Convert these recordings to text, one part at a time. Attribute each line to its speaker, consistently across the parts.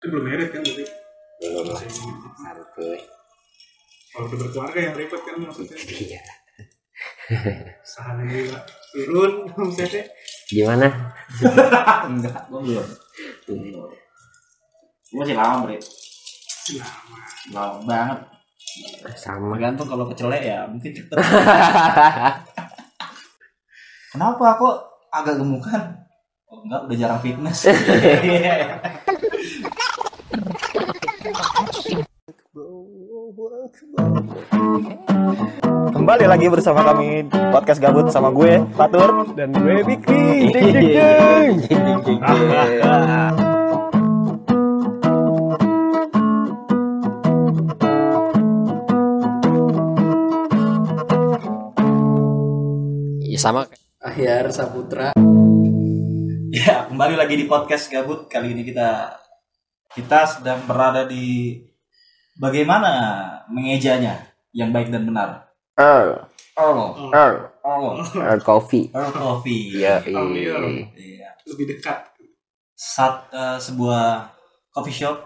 Speaker 1: Itu belum merit kan berarti.
Speaker 2: belum lah
Speaker 1: Masih ingat.
Speaker 2: harus
Speaker 1: Kalau udah berkeluarga yang repot kan maksudnya.
Speaker 2: iya
Speaker 1: Salah gila. Turun omsetnya.
Speaker 2: gimana
Speaker 3: enggak gue belum gue masih lama bre
Speaker 1: Lama.
Speaker 3: lama banget
Speaker 2: sama
Speaker 3: tergantung kalau kecelek ya mungkin cepet kenapa kok agak gemukan oh, enggak udah jarang fitness
Speaker 4: Kembali lagi bersama kami podcast gabut sama gue Fatur dan gue Bikri. Ding ding ding.
Speaker 2: Iya, sama
Speaker 5: Ahyar Saputra
Speaker 3: ya kembali lagi di podcast gabut kali ini kita kita sedang berada di bagaimana mengejanya yang baik dan benar
Speaker 2: Earl
Speaker 3: Earl
Speaker 1: Oh,
Speaker 2: Earl
Speaker 3: Earl
Speaker 2: Earl Coffee
Speaker 3: Earl Coffee
Speaker 2: iya
Speaker 1: Earl, Earl.
Speaker 2: iya
Speaker 3: Iya.
Speaker 1: lebih dekat.
Speaker 3: saat eh, sebuah coffee shop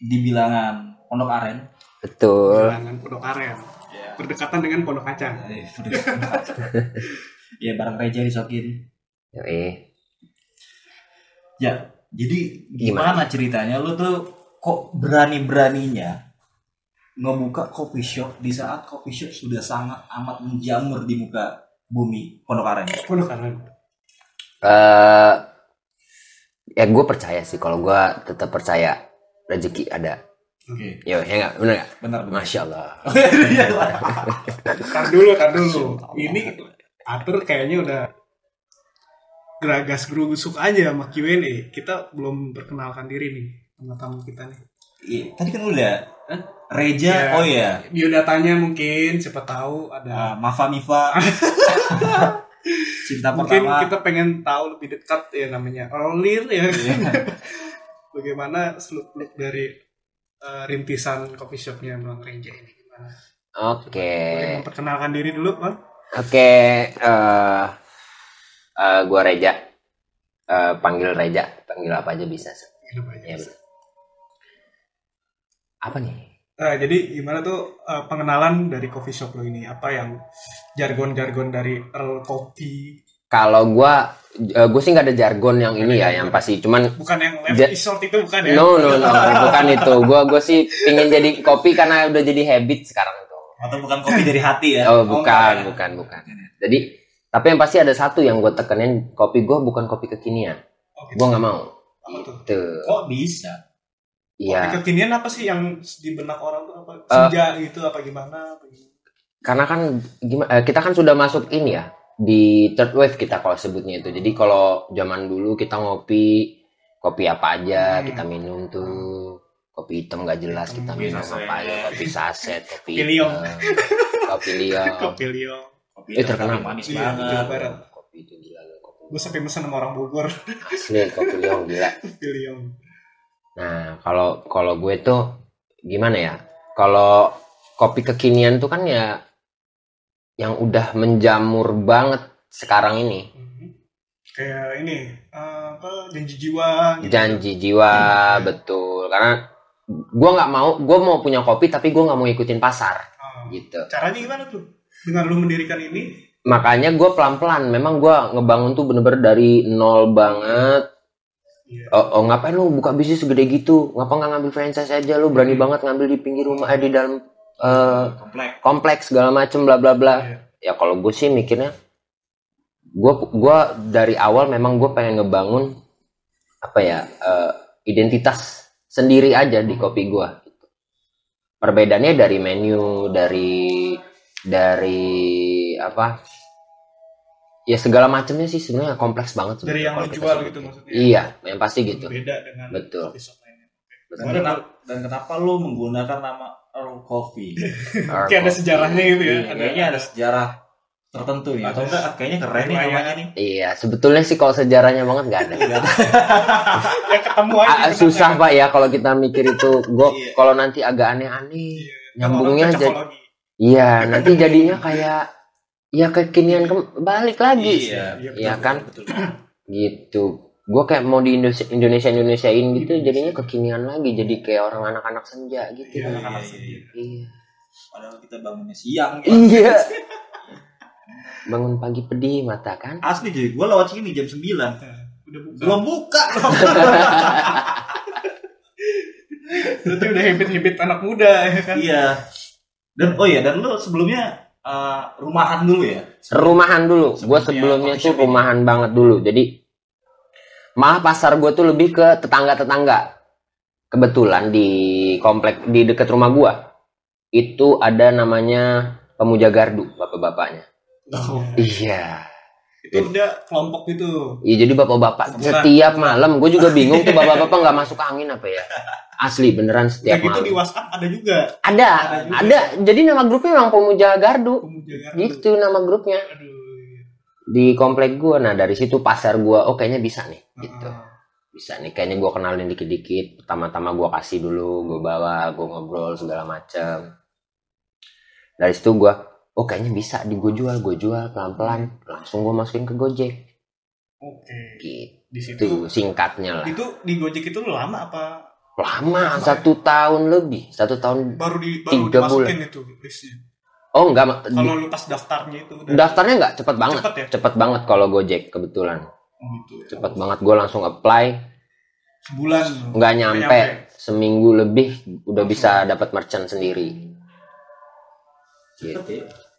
Speaker 3: di bilangan Pondok Aren.
Speaker 2: betul
Speaker 1: Bilangan pondok aren.
Speaker 3: Ya.
Speaker 1: Berdekatan dengan pondok kacang.
Speaker 3: ya Eh, barang reja disokin.
Speaker 2: eh
Speaker 3: Ya, jadi gimana ceritanya lu tuh kok berani-beraninya ngebuka coffee shop di saat coffee shop sudah sangat amat menjamur di muka bumi Pondok Aren.
Speaker 1: Pondok aren.
Speaker 2: Eh, ya gue percaya sih kalau gue tetap percaya rezeki ada
Speaker 3: Oke.
Speaker 2: yo ya nggak bener nggak
Speaker 3: Benar benar.
Speaker 2: masya allah
Speaker 3: Iya
Speaker 1: Tar dulu, tar dulu. Ini Atur kayaknya udah geragas gerusuk aja sama Q&A. Kita belum perkenalkan diri nih sama tamu kita nih.
Speaker 3: Iya, tadi kan udah
Speaker 1: Hah?
Speaker 3: Reja,
Speaker 1: Ya.
Speaker 3: oh iya.
Speaker 1: Biodatanya mungkin, siapa tahu ada.
Speaker 3: Ah, Mafa Mifa. Cinta
Speaker 1: mungkin
Speaker 3: pertama.
Speaker 1: kita pengen tahu lebih dekat ya namanya Orlir ya.
Speaker 3: Iya.
Speaker 1: Bagaimana seluk-beluk dari eh, rintisan coffee shopnya Bang Renja ini? Gimana?
Speaker 2: oke
Speaker 1: Boleh memperkenalkan diri dulu, Bang.
Speaker 2: Oke, eh eh, gua Reja. Eh, panggil Reja, panggil apa aja bisa.
Speaker 1: Hidup aja.
Speaker 2: Iya, betul. Apa nih?
Speaker 1: Nah, jadi gimana tuh eh, pengenalan dari coffee shop lo ini? Apa yang jargon-jargon dari Earl Coffee?
Speaker 2: Kalau gua eh, gua sih nggak ada jargon yang ini ya, yang pasti. Cuman
Speaker 1: Bukan yang left
Speaker 2: Ja-
Speaker 1: is short itu bukan ya?
Speaker 2: no no no, bukan itu. Gua gua sih pingin jadi kopi karena udah jadi habit sekarang tuh.
Speaker 3: Atau bukan kopi dari hati ya?
Speaker 2: Oh,
Speaker 3: enggak ya.
Speaker 2: bukan, bukan, bukan. Jadi tapi yang pasti ada satu yang gue tekenin kopi gua bukan kopi kekinian.
Speaker 1: Oh, gitu.
Speaker 2: Gua nggak mau.
Speaker 1: Apa tuh?
Speaker 2: Itu.
Speaker 3: Kok bisa?
Speaker 1: Kopi
Speaker 2: Iya. Eh.
Speaker 1: kekinian apa sih yang di benak orang tuh apa? Senja gitu apa gimana? apa gimana?
Speaker 2: karena kan gimana eh, kita kan sudah masuk ini ya di third wave kita kalau sebutnya itu jadi kalau zaman dulu kita ngopi kopi apa aja
Speaker 1: Hmm.
Speaker 2: kita minum tuh kopi hitam gak jelas kita
Speaker 1: Kopi
Speaker 2: minum
Speaker 3: saset.
Speaker 2: apa aja kopi saset kopi
Speaker 1: Kopi liong.
Speaker 2: hitam, kopi liong
Speaker 1: Kopi liong.
Speaker 3: Kopi
Speaker 2: Eh, terkenal.
Speaker 3: manis
Speaker 1: Iya, Jawa
Speaker 3: banget.
Speaker 1: Barat.
Speaker 2: kopi itu gila loh, kopi
Speaker 1: Gue sampai mesen sama orang Bogor.
Speaker 2: asli kopi liong gila
Speaker 1: Kopi liong.
Speaker 2: Nah, kalau kalau gue tuh gimana ya? Kalau kopi kekinian tuh kan ya yang udah menjamur banget sekarang ini.
Speaker 1: Mhm. Kayak ini eh, apa janji jiwa
Speaker 2: Iya.
Speaker 1: gitu.
Speaker 2: Janji jiwa, betul. Karena gue nggak mau, gue mau punya kopi tapi gue nggak mau ikutin pasar
Speaker 1: Ah.
Speaker 2: gitu.
Speaker 1: Caranya gimana tuh? Dengan lu mendirikan ini,
Speaker 2: Makanya gue pelan-pelan. Memang gue ngebangun tuh bener-bener dari nol banget.
Speaker 1: Iya.
Speaker 2: Oh, oh, ngapain lu buka bisnis segede gitu? Ngapa nggak ngambil franchise aja lu? Berani banget ngambil di pinggir rumah, eh, di dalam eh,
Speaker 3: Komplek.
Speaker 2: kompleks segala macem bla bla bla. ya kalau gue sih mikirnya gue gua dari awal memang gue pengen ngebangun apa ya eh, identitas sendiri aja di kopi gue perbedaannya dari menu dari dari apa ya segala macamnya sih sebenarnya kompleks banget
Speaker 1: dari
Speaker 2: sebenarnya
Speaker 1: yang
Speaker 2: kalau
Speaker 1: lu
Speaker 2: kita
Speaker 1: jual
Speaker 2: sebut.
Speaker 1: gitu maksudnya.
Speaker 2: iya yang pasti gitu
Speaker 1: Beda dengan
Speaker 2: Betul.
Speaker 1: coffee shop lainnya. Nah,
Speaker 3: Dan, kenapa, dan kenapa lu menggunakan nama Earl Coffee?
Speaker 1: Kayak ada sejarahnya gitu ya.
Speaker 3: Iya, Kayaknya ada sejarah tertentu nih. Atau enggak, kayaknya keren nih
Speaker 1: Lumayan.
Speaker 3: namanya nih.
Speaker 2: iya sebetulnya sih kalau sejarahnya banget nggak ada
Speaker 1: ya ketemu aja.
Speaker 2: Ah,
Speaker 1: kenapa?
Speaker 2: susah pak ya kalau kita mikir itu gue
Speaker 3: Iya.
Speaker 2: kalau nanti agak aneh-aneh
Speaker 1: Iya.
Speaker 2: nyambungnya
Speaker 1: Kalau
Speaker 2: jadi
Speaker 1: cocokologi.
Speaker 2: iya nanti jadinya kayak ya kekinian ke- balik lagi
Speaker 3: Iya.
Speaker 2: Iya kan?
Speaker 3: Betul.
Speaker 2: gitu gue kayak mau di Indonesia Indonesiain gitu jadinya kekinian lagi jadi kayak orang anak-anak senja gitu
Speaker 1: Iya, iya,
Speaker 3: anak-anak
Speaker 1: iya,
Speaker 3: sendiri.
Speaker 1: iya.
Speaker 2: iya
Speaker 3: Padahal kita bangunnya siang. ya.
Speaker 2: iya bangun pagi pedih mata kan
Speaker 3: Asli jadi gue lewat sini jam 9
Speaker 1: Udah buka.
Speaker 3: belum buka.
Speaker 1: Berarti udah habit-habit anak muda ya kan?
Speaker 3: iya. Dan oh iya dan lu sebelumnya eh, rumahan dulu ya.
Speaker 2: rumahan dulu gue
Speaker 3: Sebelumnya
Speaker 2: sebelumnya
Speaker 3: coffee
Speaker 2: tuh
Speaker 3: shop ini.
Speaker 2: rumahan banget dulu jadi malah pasar gue tuh lebih ke tetangga-tetangga kebetulan di komplek di dekat rumah gue itu ada namanya pemuja gardu bapak-bapaknya
Speaker 1: Oh.
Speaker 2: iya
Speaker 1: Itu udah kelompok gitu.
Speaker 2: Iya jadi bapak-bapak
Speaker 1: Beneran.
Speaker 2: setiap malam gue juga bingung tuh bapak-bapak nggak masuk angin apa ya asli
Speaker 1: Udah
Speaker 2: beneran setiap
Speaker 1: gitu di
Speaker 2: malam
Speaker 1: WhatsApp ada juga.
Speaker 2: ada
Speaker 1: juga.
Speaker 2: ada jadi nama grupnya memang pemuja gardu
Speaker 1: Pemuja Gardu.
Speaker 2: gitu nama grupnya
Speaker 1: Aduh. iya.
Speaker 2: di komplek gue nah dari situ pasar gue oh kayaknya bisa nih gitu
Speaker 1: Ah,
Speaker 2: bisa nih kayaknya gue kenalin dikit-dikit pertama-tama gue kasih dulu gue bawa gue ngobrol segala macem dari situ gue oh kayaknya bisa di gue jual gue jual pelan-pelan langsung gue masukin ke Gojek
Speaker 1: Oke.
Speaker 2: gitu
Speaker 1: Di situ.
Speaker 2: singkatnya lah
Speaker 1: Itu di Gojek itu lu lama apa
Speaker 2: lama satu tahun lebih satu tahun
Speaker 1: baru di baru
Speaker 2: Tiga
Speaker 1: dimasukin itu listnya?
Speaker 2: oh enggak Ma.
Speaker 1: Kalau lu pas daftarnya itu udah
Speaker 2: daftarnya enggak cepet banget
Speaker 1: cepet ya?
Speaker 2: cepet banget kalau Gojek kebetulan
Speaker 1: Oh, gitu.
Speaker 2: cepet banget gue langsung apply
Speaker 1: Sebulan. lu.
Speaker 2: nggak nyampe
Speaker 1: nyampe.
Speaker 2: seminggu lebih udah bisa dapat merchant sendiri gitu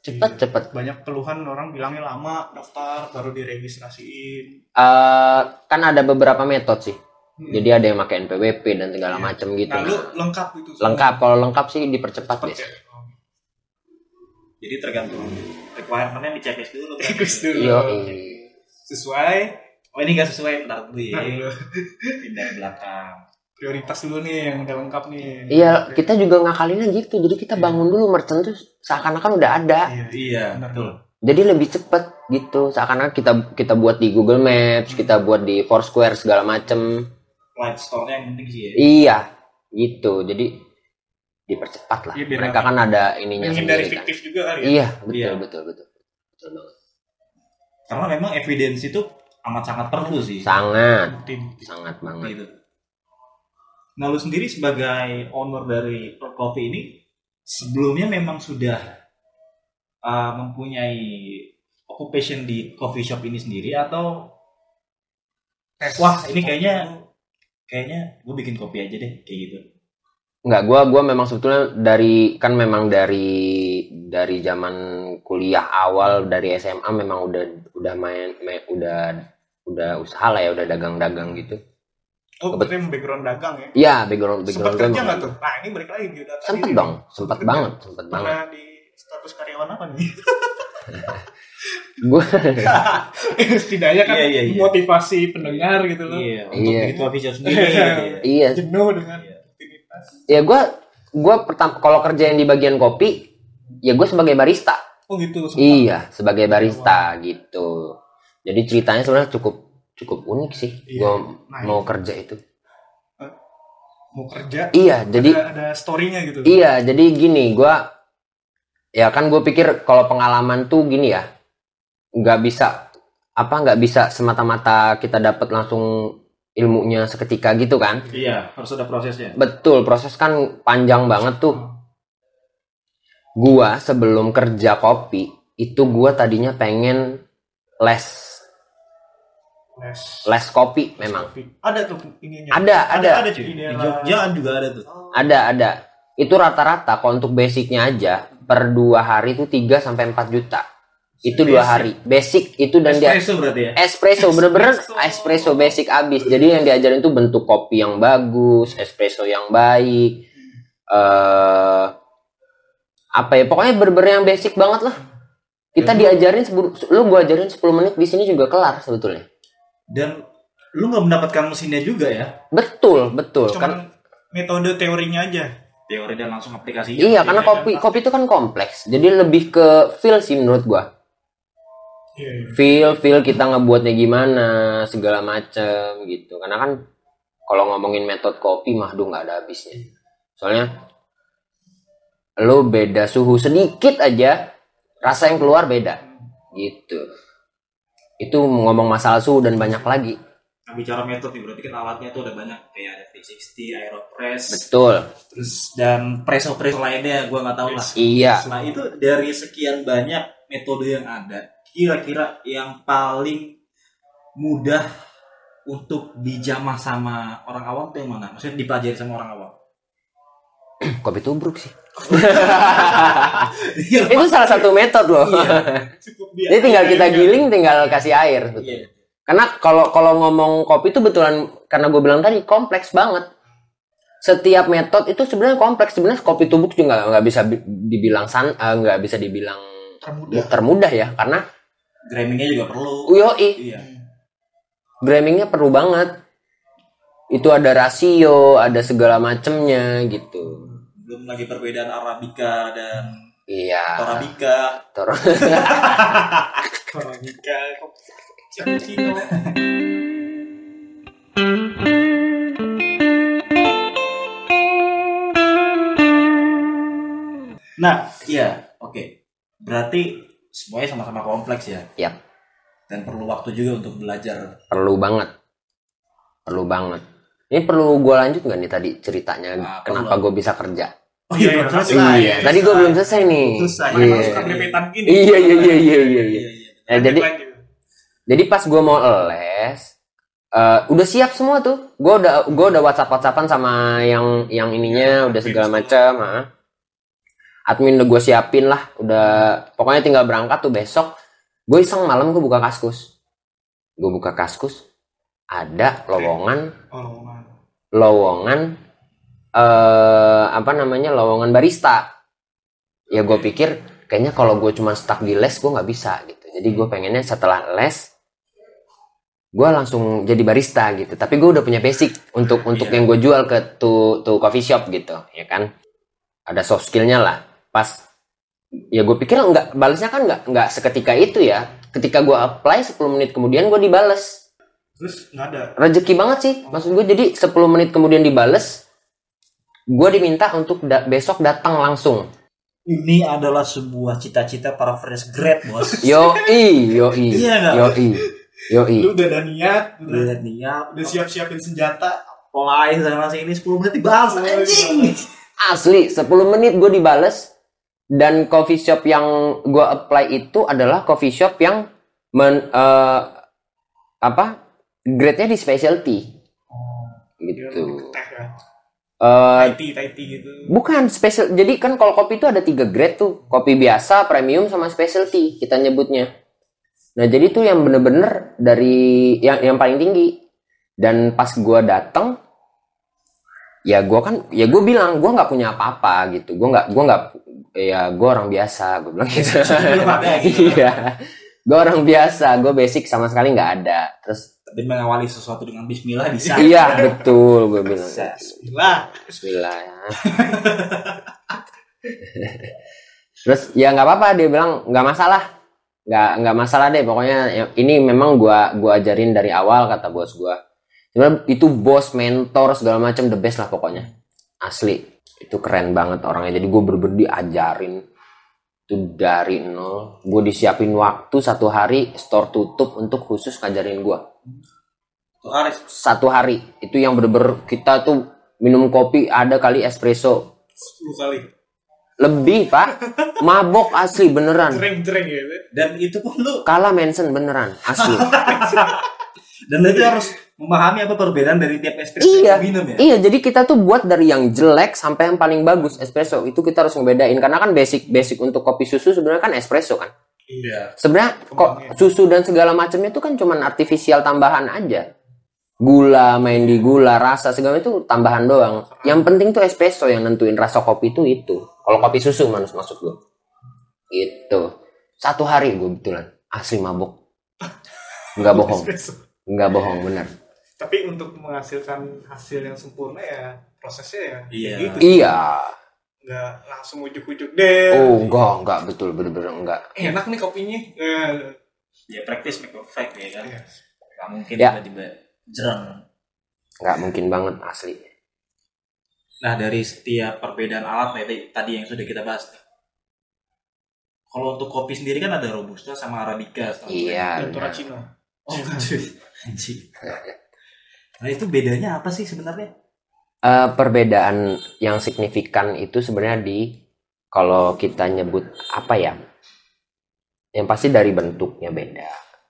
Speaker 2: cepet cepet
Speaker 1: Banyak keluhan orang bilangnya lama daftar baru diregistrasiin.
Speaker 2: Eh, kan ada beberapa metode sih
Speaker 1: Hmm.
Speaker 2: jadi ada yang pakai NPWP dan segala
Speaker 1: Iya.
Speaker 2: macam gitu
Speaker 1: Nah, lu lengkap itu. semua.
Speaker 2: lengkap kalau lengkap sih dipercepat
Speaker 1: Cepet ya?
Speaker 2: biasanya
Speaker 1: Oh.
Speaker 3: Jadi tergantung requirementnya di checklist dulu. kan?
Speaker 1: Bagus dulu.
Speaker 2: Yo, iya.
Speaker 1: Sesuai.
Speaker 3: Oh ini gak sesuai ntar dulu ya.
Speaker 1: Nah, dulu.
Speaker 3: Pindah ke belakang.
Speaker 1: prioritas dulu nih yang udah lengkap nih.
Speaker 2: iya kita juga ngakalinnya gitu jadi kita bangun dulu merchant tuh seakan-akan udah ada
Speaker 1: Iya.
Speaker 3: Iya
Speaker 1: Benar.
Speaker 3: betul.
Speaker 2: jadi lebih cepet gitu seakan-akan kita kita buat di Google
Speaker 1: Hmm.
Speaker 2: Maps kita buat di Foursquare segala macem
Speaker 3: Light store-nya yang penting sih ya.
Speaker 2: iya gitu jadi dipercepat lah
Speaker 1: Iya, biar
Speaker 2: mereka kan ada ininya
Speaker 1: Menghindari
Speaker 2: sendiri kan
Speaker 1: fiktif juga kali. ya.
Speaker 2: iya betul,
Speaker 3: Iya.
Speaker 2: betul betul betul banget
Speaker 3: Karena memang evidence itu amat sangat perlu sih.
Speaker 2: sangat
Speaker 1: Bukti.
Speaker 2: sangat banget
Speaker 3: Gitu. Nah lu sendiri sebagai owner dari Pro Coffee ini sebelumnya memang sudah uh, mempunyai occupation di coffee shop ini sendiri atau
Speaker 1: Tes.
Speaker 3: Wah, ini kayaknya- kayaknya gue bikin kopi aja deh kayak gitu.
Speaker 2: Enggak, gua gua memang sebetulnya dari kan memang dari dari zaman kuliah awal dari SMA memang udah udah main, main- udah udah usaha lah ya udah dagang-dagang gitu.
Speaker 1: Oh, berarti emang background dagang ya.
Speaker 2: Iya, background
Speaker 1: Sempat
Speaker 2: background gua
Speaker 1: kerja
Speaker 2: emang-
Speaker 1: nggak tuh? Nah, ini balik lagi biodata.
Speaker 2: Sempet
Speaker 1: ini.
Speaker 2: dong, sempet
Speaker 1: Kerja.
Speaker 2: banget, sempet banget.
Speaker 1: Pernah di status karyawan apa nih?
Speaker 2: Gua
Speaker 1: Setidaknya kan
Speaker 3: Iya, iya, iya.
Speaker 1: motivasi pendengar gitu loh.
Speaker 3: Iya, untuk
Speaker 2: Iya.
Speaker 3: di coffee shop sendiri. gitu ya.
Speaker 2: iya,
Speaker 1: Jenuh dengan
Speaker 3: Iya.
Speaker 1: aktivitas.
Speaker 2: ya gua gua pertama kalau kerja yang di bagian kopi, ya gua sebagai barista.
Speaker 1: Oh gitu. sempat.
Speaker 2: Iya, sebagai barista gitu. Jadi ceritanya sebenarnya cukup cukup unik sih.
Speaker 1: Iya,
Speaker 2: Gua
Speaker 1: nah,
Speaker 2: mau kerja itu.
Speaker 1: Mau kerja.
Speaker 2: Iya, jadi
Speaker 1: ada, ada story-nya gitu.
Speaker 2: Iya, jadi gini, gua ya kan gue pikir kalau pengalaman tuh gini ya, nggak bisa apa nggak bisa semata-mata kita dapat langsung ilmunya seketika gitu kan?
Speaker 3: Iya, harus ada prosesnya.
Speaker 2: Betul, proses kan panjang banget tuh. Gua sebelum kerja kopi itu gua tadinya pengen les
Speaker 1: Les.
Speaker 2: les kopi memang.
Speaker 1: Ada tuh ininya.
Speaker 2: Ada, ada,
Speaker 3: ada cuy. Di
Speaker 1: Bendera.
Speaker 3: Jogja juga ada tuh.
Speaker 2: ada, ada. Itu rata-rata kalau untuk basicnya aja per dua hari itu 3 sampai 4 juta. Itu dua
Speaker 1: Basic.
Speaker 2: hari. Basic itu dan dia
Speaker 3: Espresso berarti ya.
Speaker 2: espresso bener-bener
Speaker 1: Espresso.
Speaker 2: espresso basic abis jadi yang diajarin tuh bentuk kopi yang bagus espresso yang baik eh apa ya pokoknya bener-bener yang basic banget lah kita diajarin sebelum lu gua ajarin 10 menit di sini juga kelar sebetulnya
Speaker 3: Dan lu nggak mendapatkan mesinnya juga ya?
Speaker 2: betul betul
Speaker 1: Cuman
Speaker 2: kan
Speaker 1: metode teorinya aja.
Speaker 3: Teori dan langsung aplikasi.
Speaker 2: iya karena kopi kopi itu kan kompleks jadi lebih ke feel sih menurut gua
Speaker 1: Iya. iya.
Speaker 2: feel feel kita ngebuatnya gimana segala macem gitu karena kan kalau ngomongin metode kopi mah duh nggak ada habisnya soalnya lo beda suhu sedikit aja rasa yang keluar beda gitu itu ngomong masalah suhu dan banyak lagi
Speaker 3: Nah, bicara metode berarti kan alatnya itu ada banyak kayak ada 360, aeropress,
Speaker 2: Betul.
Speaker 3: terus dan presso presso lainnya gue nggak tahu lah.
Speaker 2: Iya.
Speaker 3: Nah itu dari sekian banyak metode yang ada, kira-kira yang paling mudah untuk dijamah sama orang awam tuh yang mana? Maksudnya dipelajari sama orang awam?
Speaker 2: Kopi tubruk sih. Itu salah satu metode loh.
Speaker 3: Iya. Cukup
Speaker 2: Jadi tinggal kita
Speaker 1: Iya.
Speaker 2: giling, tinggal kasih air.
Speaker 3: Iya.
Speaker 2: Karena kalau kalau ngomong kopi itu betulan karena gue bilang tadi kompleks banget. Setiap metode itu sebenarnya kompleks. Sebenarnya kopi tubruk juga nggak- nggak bisa bi- dibilang san, eh, nggak bisa dibilang
Speaker 1: Termudah.
Speaker 2: termudah ya. Karena
Speaker 3: Grammingnya juga perlu.
Speaker 2: uyoi
Speaker 3: Iya.
Speaker 2: Grammingnya perlu banget. Itu ada rasio, ada segala macemnya gitu.
Speaker 3: Belum lagi perbedaan Arabica dan
Speaker 2: Iya.
Speaker 3: Torabika.
Speaker 2: Toro.
Speaker 1: Koranika, cappuccino.
Speaker 3: Nah, iya, oke. Berarti semuanya sama-sama kompleks ya.
Speaker 2: Yap.
Speaker 3: Dan perlu waktu juga untuk belajar.
Speaker 2: perlu banget. Perlu banget. Ini perlu gue lanjut nggak nih tadi ceritanya
Speaker 3: Ah,
Speaker 2: kenapa
Speaker 3: perlu.
Speaker 2: gue bisa kerja?
Speaker 3: Oh
Speaker 1: iya,
Speaker 3: belum
Speaker 1: iya.
Speaker 3: selesai.
Speaker 1: Iya.
Speaker 2: Tadi gue belum selesai nih.
Speaker 3: Selesai.
Speaker 2: Iya.
Speaker 1: Makanya suka grepetan gini.
Speaker 2: Iya iya iya iya iya. iya.
Speaker 3: Iya, iya.
Speaker 2: Eh, jadi jadi pas gue mau les, eh, udah siap semua tuh. Gue udah gue udah WhatsApp WhatsAppan sama yang yang ininya udah segala macam. ah. Admin udah gue siapin lah. Udah pokoknya tinggal berangkat tuh besok. Gue iseng malam gue buka kaskus. Gue buka kaskus. Ada lowongan
Speaker 1: Oh,
Speaker 2: lowongan eh apa namanya lowongan barista ya gue pikir kayaknya kalau gue cuma stuck di les gue nggak bisa gitu jadi gue pengennya setelah les gue langsung jadi barista gitu tapi gue udah punya basic untuk untuk yang gue jual ke tuh tuh coffee shop gitu ya kan ada soft skillnya lah pas ya gue pikir nggak balasnya kan nggak nggak seketika itu ya ketika gue apply 10 menit kemudian gue dibales
Speaker 1: terus nggak ada.
Speaker 2: rezeki banget sih maksud gue jadi 10 menit kemudian dibales gue diminta untuk da- besok datang langsung
Speaker 3: Ini adalah sebuah cita-cita para fresh grad, Bos.
Speaker 2: yo i yo i
Speaker 3: Iya nggak?
Speaker 2: yo i yo i
Speaker 1: Lu udah ada niat, udah,
Speaker 3: Udah
Speaker 2: Iya.
Speaker 3: niat,
Speaker 1: udah siap-siapin senjata.
Speaker 3: Mulai sana sini 10 menit dibahas anjing.
Speaker 2: asli 10 menit gue dibales dan coffee shop yang gue apply itu adalah coffee shop yang men, eh, apa grade-nya di specialty
Speaker 1: Iya,
Speaker 2: gitu
Speaker 1: teh ya.
Speaker 2: Eh,
Speaker 1: Thai tea, Thai tea gitu.
Speaker 2: Bukan special. Jadi kan kalau kopi itu ada tiga grade tuh, kopi biasa, premium, sama specialty kita nyebutnya. Nah jadi tuh yang bener-bener dari yang yang paling tinggi. Dan pas gua datang, ya gua kan, ya gue bilang gua nggak punya apa-apa gitu. Gua nggak, gua nggak, ya gua orang biasa. Gue bilang gitu.
Speaker 3: Belum ada gitu.
Speaker 2: Iya. Gue orang biasa, gue basic sama sekali nggak ada. Terus
Speaker 3: Tapi mengawali sesuatu dengan bismillah bisa.
Speaker 2: iya betul gue bilang. gitu.
Speaker 3: Bisa.
Speaker 1: Bismillah.
Speaker 2: Bismillah ya. Terus ya nggak apa-apa dia bilang nggak masalah, nggak nggak masalah deh pokoknya ya, ini memang gua gua ajarin dari awal kata bos gua. Sebenarnya itu bos mentor segala macam the best lah pokoknya asli itu keren banget orangnya jadi gue bener-bener diajarin itu dari nol gue disiapin waktu satu hari store tutup untuk khusus ngajarin gue
Speaker 3: Tuh Aris,
Speaker 2: satu hari itu yang bener-bener kita tuh minum kopi ada kali espresso
Speaker 1: 10 kali.
Speaker 2: Lebih pak Mabok asli beneran
Speaker 1: Jereng-jereng gitu.
Speaker 3: dan itu pun lu
Speaker 2: Kalah Manson beneran Asli
Speaker 3: dan lu itu harus memahami apa perbedaan dari tiap espresso
Speaker 2: Iya.
Speaker 3: yang lu minum ya.
Speaker 2: Iya jadi kita tuh buat dari yang jelek Sampai yang paling bagus Espresso Itu kita harus ngebedain Karena kan basic basic untuk kopi susu sebenarnya kan espresso kan
Speaker 1: Iya.
Speaker 2: Sebenarnya kok susu dan segala macamnya itu kan cuman artifisial tambahan aja Gula main di gula Rasa segala itu tambahan doang Yang penting tuh espresso yang nentuin rasa kopi itu itu Kalau kopi susu manus maksud gue Gitu Satu hari gue betulan Asli mabok Nggak bohong
Speaker 1: Espresso.
Speaker 2: nggak bohong bener
Speaker 1: Tapi untuk menghasilkan hasil yang sempurna ya prosesnya ya
Speaker 3: Iya.
Speaker 1: gitu.
Speaker 2: iya
Speaker 1: Nggak langsung ujuk-ujuk deh.
Speaker 2: oh enggak enggak betul bener-bener enggak
Speaker 1: Enak nih kopinya. Eh,
Speaker 3: Ya practice make perfect ya kan.
Speaker 1: Iya.
Speaker 3: Gak mungkin
Speaker 2: Ya.
Speaker 3: tiba-tiba jerang.
Speaker 2: enggak mungkin banget asli
Speaker 3: Nah dari setiap perbedaan alat tadi, tadi yang sudah kita bahas. Kalau untuk kopi sendiri kan ada robusta sama arabica. setahu gue.
Speaker 2: iya
Speaker 1: dan
Speaker 2: bener.
Speaker 1: Torracino.
Speaker 3: Oh, anjing. Nah itu bedanya apa sih sebenarnya?
Speaker 2: Eh, perbedaan yang signifikan itu sebenarnya di kalau kita nyebut apa ya? Yang pasti dari bentuknya beda.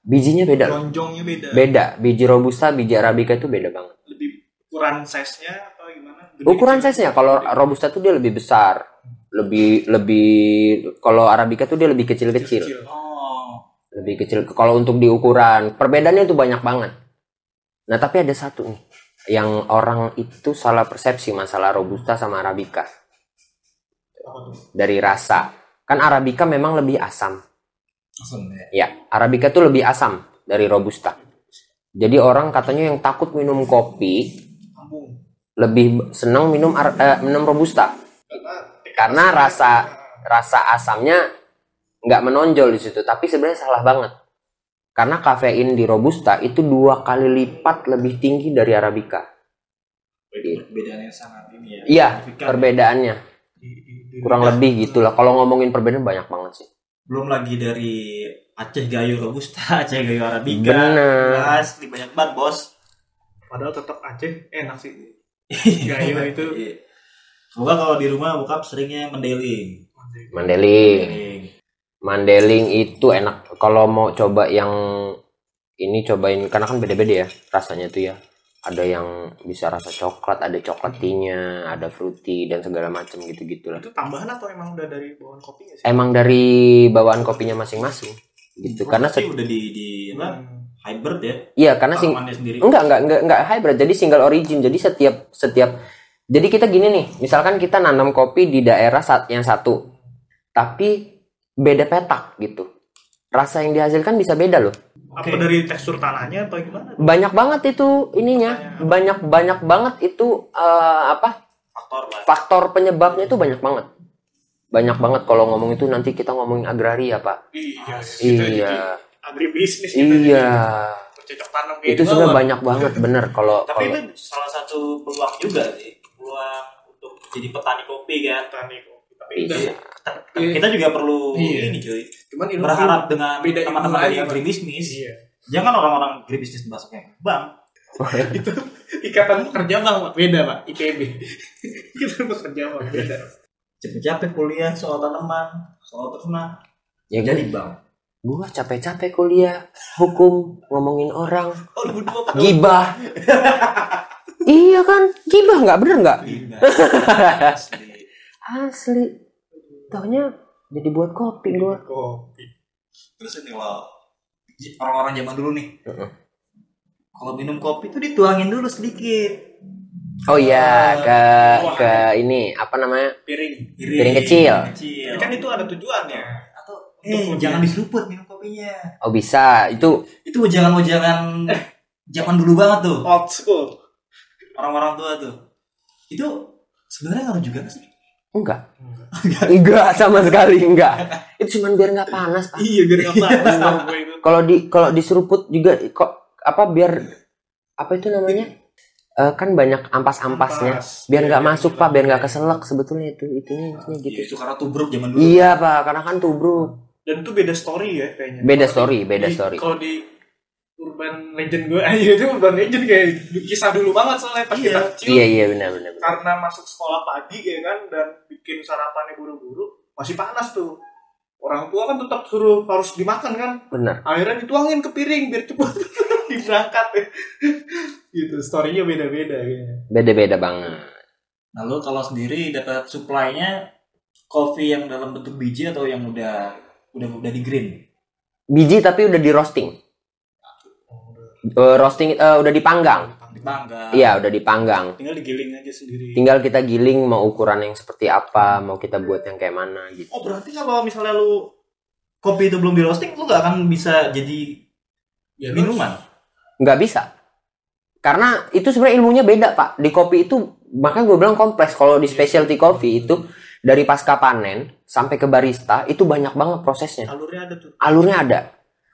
Speaker 2: Bijinya beda. loh.
Speaker 1: Lonjongnya beda.
Speaker 2: Beda. Biji robusta, biji arabica itu beda banget.
Speaker 1: Lebih ukuran size-nya apa gimana? Gede
Speaker 2: Oh, Ukuran
Speaker 1: kecil.
Speaker 2: size-nya kalau robusta tuh dia lebih besar. Lebih lebih kalau arabica tuh dia lebih kecil-kecil.
Speaker 3: Oh.
Speaker 2: lebih kecil kalau untuk di ukuran perbedaannya itu banyak banget nah tapi ada satu nih yang orang itu salah persepsi masalah robusta sama arabica
Speaker 1: Apa tuh?
Speaker 2: dari rasa kan arabica memang lebih asam
Speaker 3: Langsung ya.
Speaker 2: ya arabica tuh lebih asam dari robusta jadi orang katanya yang takut minum kopi
Speaker 1: Kampung.
Speaker 2: lebih senang minum ar- eh, minum robusta karena rasa rasa asamnya nggak menonjol di situ tapi sebenarnya salah banget karena kafein di robusta itu dua kali lipat lebih tinggi dari arabica
Speaker 3: Bedanya sangat ini ya.
Speaker 2: iya
Speaker 3: signifikan ya.
Speaker 2: perbedaannya
Speaker 1: Di- di- di-
Speaker 2: kurang lebih gitulah kalau ngomongin perbedaan banyak banget sih
Speaker 3: Belum lagi dari Aceh Gayo Robusta, Aceh Gayo Arabica.
Speaker 2: bener
Speaker 3: Asli banyak banget bos.
Speaker 1: Padahal tetap Aceh enak sih. Gayo itu.
Speaker 3: Iya. Semoga kalau di rumah bokap seringnya mendeling.
Speaker 2: mandeling mandeling itu enak kalau mau coba yang ini cobain karena kan beda-beda ya rasanya tuh ya ada yang bisa rasa coklat ada coklatinya ada fruity dan segala macam gitu gitulah
Speaker 1: Itu tambahan atau emang udah dari bawaan kopinya sih?
Speaker 2: emang dari bawaan kopinya masing-masing gitu karena
Speaker 3: sih
Speaker 2: se-
Speaker 3: udah di di apa?
Speaker 1: Hmm.
Speaker 3: Hybrid ya.
Speaker 2: iya karena sing
Speaker 3: tanamannya sendiri.
Speaker 2: enggak enggak enggak enggak hybrid jadi single origin jadi setiap setiap jadi kita gini nih misalkan kita nanam kopi di daerah sa- yang satu tapi beda petak gitu rasa yang dihasilkan bisa beda loh
Speaker 1: Apa dari tekstur tanahnya apa gimana?
Speaker 2: banyak banget itu ininya banyak banyak banget itu eh, apa
Speaker 3: Faktor lah.
Speaker 2: faktor penyebabnya itu banyak banget banyak banget kalau ngomong itu nanti kita ngomongin agraria pak
Speaker 1: Iya. kita jadi
Speaker 2: iya
Speaker 1: Agribisnis kita jadi
Speaker 2: iya
Speaker 1: bercocok tanam kayak
Speaker 2: itu
Speaker 1: gitu.
Speaker 2: sebenarnya banyak banget bener kalau
Speaker 3: Tapi
Speaker 2: kalau-
Speaker 3: itu salah satu peluang juga sih. Peluang untuk jadi petani kopi kan.
Speaker 1: Petani kopi. Tapi enggak
Speaker 2: Iya.
Speaker 3: Kita juga perlu
Speaker 1: Iya.
Speaker 3: ini cuy.
Speaker 5: Cuman ini
Speaker 3: Berharap dengan
Speaker 5: beda ilmu
Speaker 3: teman-teman dari
Speaker 5: aja, Pak.
Speaker 3: agribisnis.
Speaker 1: Iya.
Speaker 3: Jangan kan orang-orang agribisnis masuknya. Bang,
Speaker 1: Ikatan pekerja bang Pak. beda pak IPB. Ikatan pekerja bang beda.
Speaker 3: capek-capek kuliah soal tanaman, soal ternak.
Speaker 2: ya
Speaker 3: Jadi bang.
Speaker 2: gua capek-capek kuliah hukum ngomongin orang
Speaker 3: Oh, lu berdua apa?
Speaker 2: gibah iya kan gibah nggak bener nggak
Speaker 3: Gila. Iya. Asli.
Speaker 2: asli taunya jadi buat kopi
Speaker 1: Iya.
Speaker 2: gua
Speaker 1: Kopi.
Speaker 3: Terus ini wow. Orang-orang zaman dulu nih.
Speaker 2: Heeh.
Speaker 3: Kalau minum kopi tuh dituangin dulu sedikit.
Speaker 2: oh iya ke ke ini apa namanya
Speaker 1: Piring.
Speaker 3: Piring,
Speaker 2: Piring kecil.
Speaker 3: kecil.
Speaker 1: Tapi kan itu ada tujuannya.
Speaker 3: Atau
Speaker 1: Untuk
Speaker 3: eh
Speaker 1: kemudian-
Speaker 3: jangan diseruput minum kopinya.
Speaker 2: oh bisa itu
Speaker 3: Itu jangan-jangan zaman dulu banget tuh
Speaker 1: Old school.
Speaker 3: orang-orang tua tuh. Itu sebenarnya ngaruh juga nggak sih.
Speaker 2: enggak enggak sama sekali enggak itu cuman biar nggak panas pak
Speaker 1: Iya biar nggak panas tahu gue itu.
Speaker 2: kalau di kalau diseruput juga kok apa biar apa itu namanya Eh, kan banyak ampas-ampasnya
Speaker 1: Ampas.
Speaker 2: biar nggak
Speaker 1: Iya,
Speaker 2: masuk
Speaker 1: iya.
Speaker 2: pak biar nggak keselak sebetulnya itu itunya intinya gitu
Speaker 3: Itu karena tubruk zaman dulu.
Speaker 2: Iya pak, karena kan tuh bro
Speaker 1: Dan itu beda story ya kayaknya.
Speaker 2: Beda
Speaker 1: Kalau
Speaker 2: story,
Speaker 1: di-
Speaker 2: beda
Speaker 1: di-
Speaker 2: story
Speaker 1: Kalau di urban legend gue, aja itu urban legend kayak kisah dulu banget soalnya pas kita kecil.
Speaker 2: Iya iya benar benar benar.
Speaker 1: Karena masuk sekolah pagi ya kan dan bikin sarapannya buru-buru masih panas tuh. Orang tua kan tetap suruh harus dimakan kan.
Speaker 2: Benar.
Speaker 1: Akhirnya dituangin ke piring biar cepet diberangkat. ya. gitu, storynya beda-beda kayaknya.
Speaker 2: Beda-beda banget.
Speaker 3: Lalu Nah, kalau sendiri dapat supply-nya kopi yang dalam bentuk biji atau yang udah udah udah di green.
Speaker 2: Biji tapi udah di roasting. Eh, roasting eh, udah dipanggang.
Speaker 3: Di mangga.
Speaker 2: Iya, udah dipanggang.
Speaker 1: Tinggal digiling aja sendiri.
Speaker 2: Tinggal kita giling mau ukuran yang seperti apa, mau kita buat yang kayak mana gitu.
Speaker 3: Oh berarti kalau misalnya lu kopi itu belum di roasting, lu gak akan bisa jadi
Speaker 1: Ya,
Speaker 3: minuman.
Speaker 2: Nggak bisa. Karena itu sebenarnya ilmunya beda, Pak. Di kopi itu makanya gue bilang kompleks. Kalau di specialty coffee itu dari pasca panen sampai ke barista itu banyak banget prosesnya.
Speaker 1: Alurnya ada tuh.
Speaker 2: alurnya ada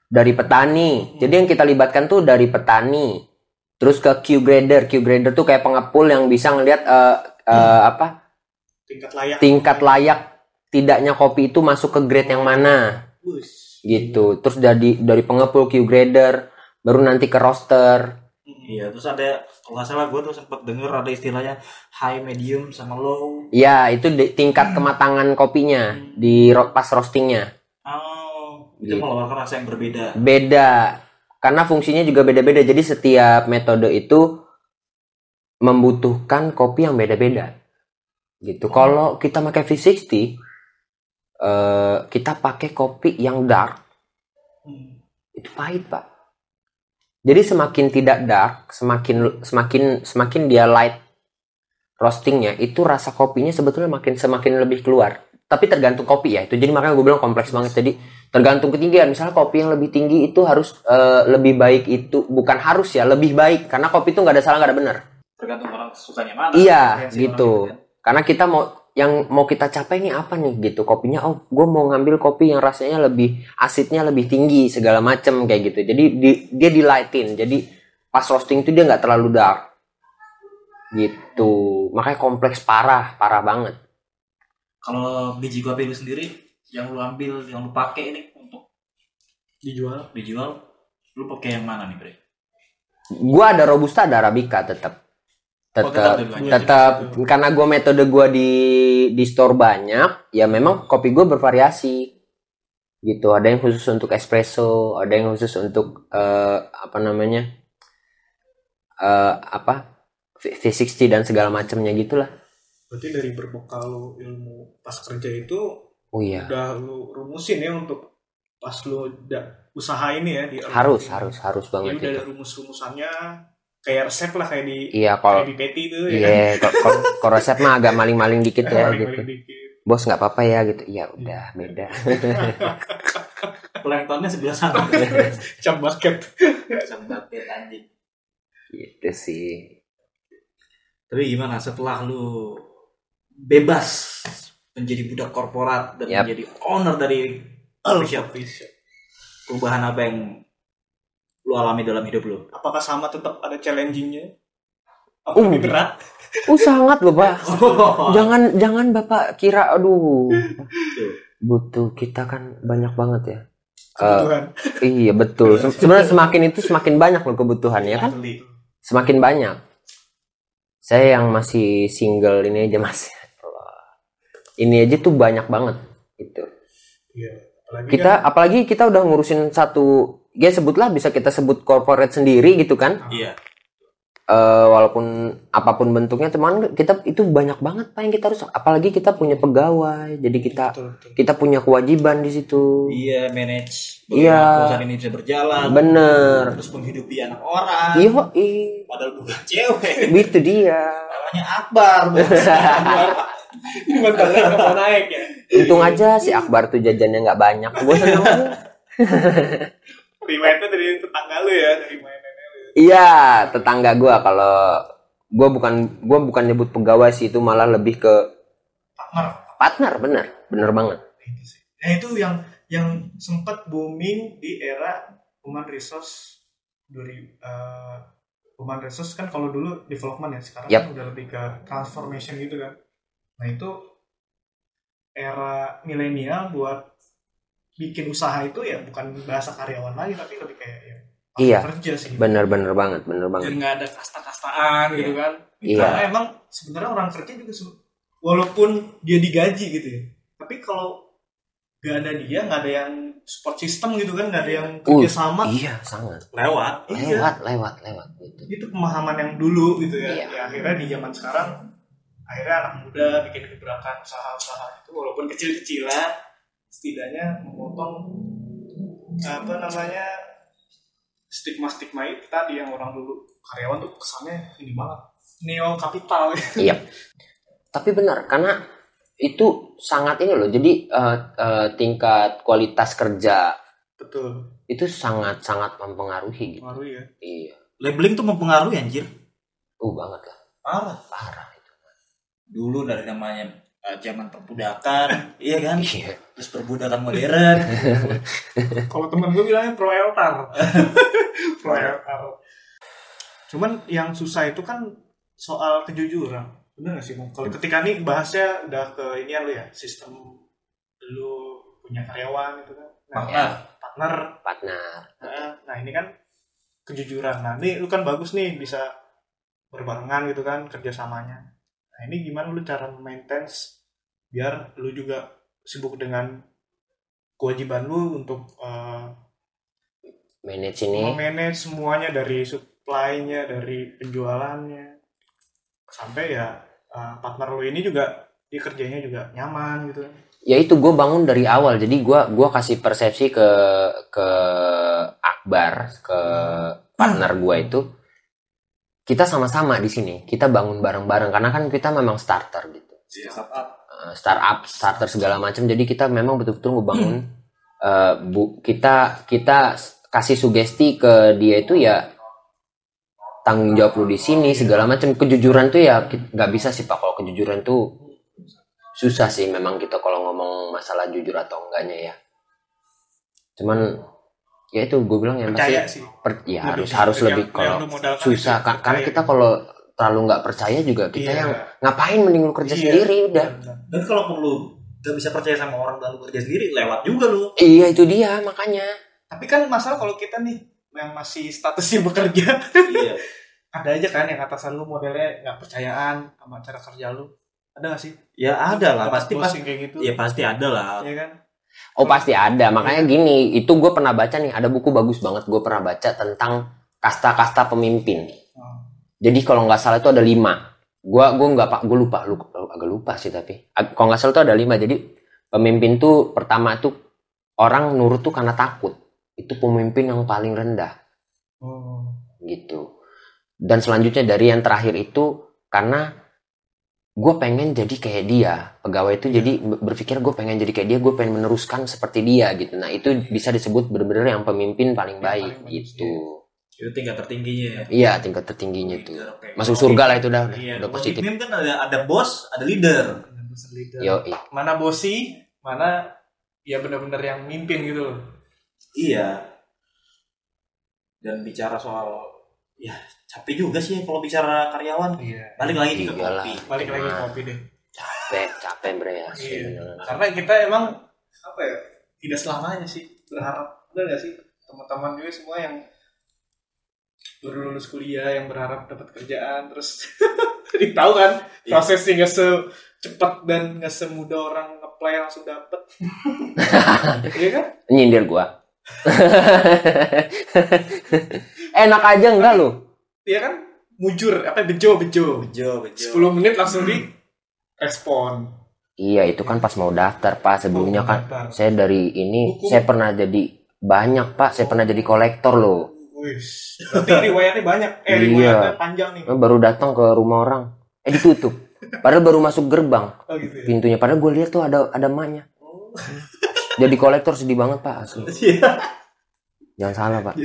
Speaker 2: dari petani. Jadi yang kita libatkan tuh dari petani. Terus ke Q grader. Q grader tuh kayak pengepul yang bisa ngelihat eh, eh, apa
Speaker 1: Tingkat layak.
Speaker 2: tingkat layak tidaknya kopi itu masuk ke grade yang mana
Speaker 1: Bus.
Speaker 2: gitu. Terus dari dari pengepul Q grader baru nanti ke roster.
Speaker 1: Hmm,
Speaker 3: Iya, terus ada kalau nggak salah gue tuh sempet denger ada istilahnya high, medium, sama low.
Speaker 2: Ya, itu di- tingkat kematangan kopinya di ro- pas roastingnya.
Speaker 3: Oh, itu
Speaker 2: Gitu.
Speaker 3: mengeluarkan rasa yang berbeda.
Speaker 2: Beda. Karena fungsinya juga beda-beda. Jadi setiap metode itu membutuhkan kopi yang beda-beda. Gitu. Kalau kita pakai V60 eh, kita pakai kopi yang dark
Speaker 1: hmm.
Speaker 2: itu pahit, Pak. Jadi semakin tidak dark, semakin semakin semakin dia light roastingnya itu rasa kopinya sebetulnya makin semakin lebih keluar tapi tergantung kopi ya itu jadi makanya gue bilang kompleks banget jadi tergantung ketinggian misalnya kopi yang lebih tinggi itu harus eh, lebih baik itu bukan harus ya lebih baik karena kopi itu nggak ada salah nggak ada benar
Speaker 3: Tergantung orang sukanya mana.
Speaker 2: Iya,
Speaker 3: preferensi
Speaker 2: gitu.
Speaker 3: orang kan.
Speaker 2: karena kita mau yang mau kita capai ini apa nih gitu kopinya oh gue mau ngambil kopi yang rasanya lebih asidnya lebih tinggi segala macem kayak gitu jadi di- dia di lightin jadi pas roasting itu dia nggak terlalu dark gitu makanya kompleks parah parah banget
Speaker 3: Kalau biji kopi lu sendiri yang lu ambil, yang lu pakai ini untuk dijual, dijual, lu pakai yang mana nih, Bre?
Speaker 2: gua ada robusta ada arabica tetap
Speaker 3: Oh, tetap
Speaker 2: tetap
Speaker 3: dia bilang.
Speaker 2: tetap karena gua metode gua di di store banyak ya memang kopi gua bervariasi gitu ada yang khusus untuk espresso ada yang khusus untuk eh, apa namanya eh, apa V- V60 dan segala macamnya gitulah
Speaker 1: Berarti dari berbekal lu ilmu pas kerja itu
Speaker 2: oh iya
Speaker 1: udah lu rumusin ya untuk pas lu da- usaha ini ya di
Speaker 2: harus harus harus
Speaker 1: Jadi
Speaker 2: banget
Speaker 1: Iya, udah
Speaker 2: itu
Speaker 1: ada rumus-rumusannya kayak resep lah kayak di
Speaker 2: iya
Speaker 1: kayak
Speaker 2: kalau
Speaker 1: di peti itu ya.
Speaker 2: iya kalau- kalau kalau resep mah agak maling-maling dikit ya
Speaker 1: Paling-paling
Speaker 2: gitu
Speaker 1: dikit.
Speaker 2: bos nggak apa-apa ya gitu iya udah beda
Speaker 3: Planktonnya sebelah sana.
Speaker 2: Iya.
Speaker 1: Cap basket.
Speaker 3: Sampai anjing.
Speaker 2: gitu sih
Speaker 3: Tapi gimana setelah lu bebas menjadi budak korporat dan
Speaker 2: Yap.
Speaker 3: menjadi owner dari
Speaker 1: Oh,
Speaker 3: coffee shop,
Speaker 1: shop.
Speaker 3: perubahan apa yang lu alami dalam hidup lu?
Speaker 1: Apakah sama tetap ada challengingnya? Apa
Speaker 2: Uh.
Speaker 1: lebih berat?
Speaker 2: Uh sangat loh pak.
Speaker 3: Oh,
Speaker 2: Jangan jangan bapak kira aduh butuh kita kan banyak banget ya. Eh,
Speaker 1: Kebutuhan.
Speaker 2: iya betul. Se- Sebenarnya semakin itu semakin banyak loh kebutuhan ya kan.
Speaker 3: Asli.
Speaker 2: Semakin banyak. Saya yang masih single ini aja mas. Ini aja tuh banyak banget itu.
Speaker 1: Iya. Apalagi
Speaker 2: Kita apalagi kita udah ngurusin satu ya sebutlah bisa kita sebut corporate sendiri gitu kan.
Speaker 3: Iya.
Speaker 2: Eh, walaupun apapun bentuknya teman kita itu banyak banget pak yang kita harus apalagi kita punya pegawai jadi kita
Speaker 1: Betul, betul.
Speaker 2: kita punya kewajiban di situ
Speaker 3: Iya, manage.
Speaker 2: Iya.
Speaker 3: bagaimana Perusahaan ini bisa berjalan.
Speaker 2: bener Iya.
Speaker 3: Terus menghidupi anak orang.
Speaker 2: iyo
Speaker 3: Padahal bukan cewek.
Speaker 2: itu Gitu dia
Speaker 3: Namanya Akbar. Bos.
Speaker 1: Ini mentalnya nggak naik ya.
Speaker 2: untung aja si Akbar tuh jajannya nggak banyak gue seneng
Speaker 1: Rewindnya dari tetangga lu ya, dari mainannya lu.
Speaker 2: iya tetangga gue kalau gue bukan gue bukan nyebut pegawai sih itu malah lebih ke partner bener bener banget
Speaker 1: Nah itu yang yang sempat booming di era human resource dari eh, human resource kan kalau dulu development ya sekarang
Speaker 2: Yap.
Speaker 1: kan udah lebih ke transformation gitu kan. Nah itu era milenial buat bikin usaha itu ya bukan bahasa karyawan lagi tapi lebih kayak ya, pakar
Speaker 2: Iya.
Speaker 1: kerja sih.
Speaker 2: bener bener banget bener banget
Speaker 1: Dan nggak ada kasta-kastaan gitu kan. Karena
Speaker 2: iya
Speaker 1: emang sebenarnya orang kerja juga se- walaupun dia digaji gitu ya. Tapi kalau nggak ada dia, nggak ada yang support system gitu kan, nggak ada yang
Speaker 2: Uh,
Speaker 1: kerja sama.
Speaker 2: iya sangat
Speaker 3: Lewat.
Speaker 1: Iya,
Speaker 2: lewat lewat lewat gitu
Speaker 1: itu pemahaman yang dulu gitu ya.
Speaker 2: Iya.
Speaker 1: Ya, akhirnya di zaman sekarang, akhirnya anak muda bikin gebrakan usaha-usaha itu walaupun kecil-kecilan, setidaknya memotong apa namanya stigma-stigma itu tadi yang orang dulu karyawan tuh kesannya ini banget neo kapital
Speaker 2: Iya. Tapi benar karena itu sangat ini loh. Jadi eh, eh, tingkat kualitas kerja
Speaker 1: betul
Speaker 2: itu sangat sangat mempengaruhi gitu.
Speaker 1: pengaruh ya
Speaker 2: Iya.
Speaker 3: Labeling tuh mempengaruhi anjir.
Speaker 2: Uh banget lah.
Speaker 1: parah
Speaker 2: Parah itu.
Speaker 3: Dulu dari namanya eh, zaman perbudakan, iya kan?
Speaker 2: Iya.
Speaker 3: Terus perbudakan modern.
Speaker 1: kalau temen gue bilangnya pro eltar pro eltar cuman yang susah itu kan soal kejujuran bener gak sih Bang? kalau ketika nih bahasnya udah ke ini lu ya sistem lu punya karyawan gitu kan nah,
Speaker 3: Partner.
Speaker 1: partner
Speaker 2: Partner.
Speaker 1: nah, nah ini kan kejujuran nah ini lu kan bagus nih bisa berbarengan gitu kan kerjasamanya nah ini gimana lu cara maintenance biar lu juga sibuk dengan kewajiban lu untuk eh,
Speaker 2: manage ini
Speaker 1: memanage semuanya dari supply-nya, dari penjualannya sampai ya uh, partner lu ini juga dia kerjanya juga nyaman gitu.
Speaker 2: ya itu gue bangun dari awal jadi gue gua kasih persepsi ke ke Akbar ke partner gue itu kita sama-sama di sini kita bangun bareng-bareng karena kan kita memang starter gitu
Speaker 3: startup
Speaker 2: eh, startup starter segala macam jadi kita memang betul-betul ngebangun
Speaker 1: Hmm.
Speaker 2: eh, bu kita kita s- kasih sugesti ke dia itu ya tanggung jawab lu di sini
Speaker 1: Iya.
Speaker 2: segala macam kejujuran tuh ya ki- nggak bisa sih pak kalau kejujuran tuh susah sih memang kita kalau ngomong masalah jujur atau enggaknya ya cuman ya itu gue bilang yang pasti
Speaker 1: Percaya sih.
Speaker 2: per- ya
Speaker 1: Lebih
Speaker 2: harus
Speaker 1: sih,
Speaker 2: harus
Speaker 1: yang-
Speaker 2: lebih
Speaker 1: yang
Speaker 2: kalau
Speaker 1: lu modalkan
Speaker 2: susah
Speaker 1: itu
Speaker 2: Ka- karena
Speaker 1: percaya.
Speaker 2: kita kalau terlalu nggak percaya juga kita
Speaker 1: Iya.
Speaker 2: yang ngapain mending lu kerja
Speaker 1: Iya.
Speaker 2: sendiri udah
Speaker 3: dan kalau perlu gak bisa percaya sama orang dan lu kerja sendiri lewat juga lu
Speaker 2: iya itu dia makanya
Speaker 1: Tapi kan masalah kalau kita nih yang masih statusnya bekerja
Speaker 3: iya
Speaker 1: ada aja kan yang atasan lu modelnya nggak percayaan sama cara kerja lu ada gak sih
Speaker 3: ya ada lah
Speaker 1: Dapat
Speaker 3: pasti
Speaker 1: bos
Speaker 3: pasti
Speaker 1: yang kayak gitu
Speaker 3: ya pasti ada lah
Speaker 1: Iya kan
Speaker 2: oh pasti ada makanya gini itu gue pernah baca nih ada buku bagus banget gue pernah baca tentang kasta-kasta pemimpin
Speaker 1: Oh.
Speaker 2: jadi kalau nggak salah itu ada lima gua gua nggak pak gue lupa lu agak lupa sih tapi Ag- kalau nggak salah itu ada lima jadi pemimpin tuh pertama tuh orang nurut tuh karena takut itu pemimpin yang paling rendah
Speaker 1: Oh.
Speaker 2: gitu. Dan selanjutnya dari yang terakhir itu karena gue pengen jadi kayak dia, pegawai itu jadi
Speaker 1: Hmm.
Speaker 2: be- berpikir gue pengen jadi kayak dia, gue pengen meneruskan seperti dia gitu. Nah itu bisa disebut bener-bener yang pemimpin
Speaker 1: Yang
Speaker 2: paling baik
Speaker 1: paling bagus,
Speaker 2: gitu.
Speaker 3: itu tingkat tertingginya ya
Speaker 2: Iya tingkat tertingginya
Speaker 1: Oh, iya.
Speaker 2: tuh.
Speaker 3: Leader, kayak-
Speaker 2: Masuk surga lah itu udah,
Speaker 3: iya,
Speaker 2: udah
Speaker 3: kalau
Speaker 2: positif.
Speaker 3: pemimpin kan ada ada bos ada leader
Speaker 1: Bener-bener leader.
Speaker 2: Yo,
Speaker 1: Mana bosi, mana ya bener-bener yang mimpin gitu loh.
Speaker 3: Iya. Dan bicara soal ya capek juga sih kalau bicara karyawan.
Speaker 1: Iya.
Speaker 3: Balik lagi nih ke
Speaker 2: Iya lah.
Speaker 3: kopi.
Speaker 1: Balik lagi ke kopi deh.
Speaker 2: capek, capek bre asli
Speaker 1: Iya.
Speaker 2: beneran.
Speaker 1: karena kita emang apa ya tidak selamanya sih berharap benar gak sih teman-teman juga semua yang baru lulus kuliah yang berharap dapat kerjaan terus jadi tahu kan
Speaker 3: Iya.
Speaker 1: prosesnya nggak secepat dan nggak semudah orang ngeplay langsung dapet iya kan
Speaker 2: Nyindir gua. Enak aja enggak lu?
Speaker 1: iya kan mujur apa bejo bejo
Speaker 3: Bejo, bejo.
Speaker 1: 10 menit langsung di respon
Speaker 2: Iya itu kan pas mau daftar pak sebelumnya
Speaker 1: Oh,
Speaker 2: kan
Speaker 1: daftar.
Speaker 2: saya dari ini
Speaker 1: Hukum.
Speaker 2: saya pernah jadi banyak pak saya pernah jadi kolektor loh
Speaker 1: Wis, berarti riwayatnya banyak. Eh,
Speaker 2: Iya.
Speaker 1: riwayatnya panjang nih.
Speaker 2: baru datang ke rumah orang eh ditutup padahal baru masuk gerbang
Speaker 1: Oh gitu ya.
Speaker 2: pintunya padahal gue lihat tuh ada ada emaknya
Speaker 1: Oh.
Speaker 2: jadi kolektor sedih banget pak asli
Speaker 3: Iya.
Speaker 2: jangan salah pak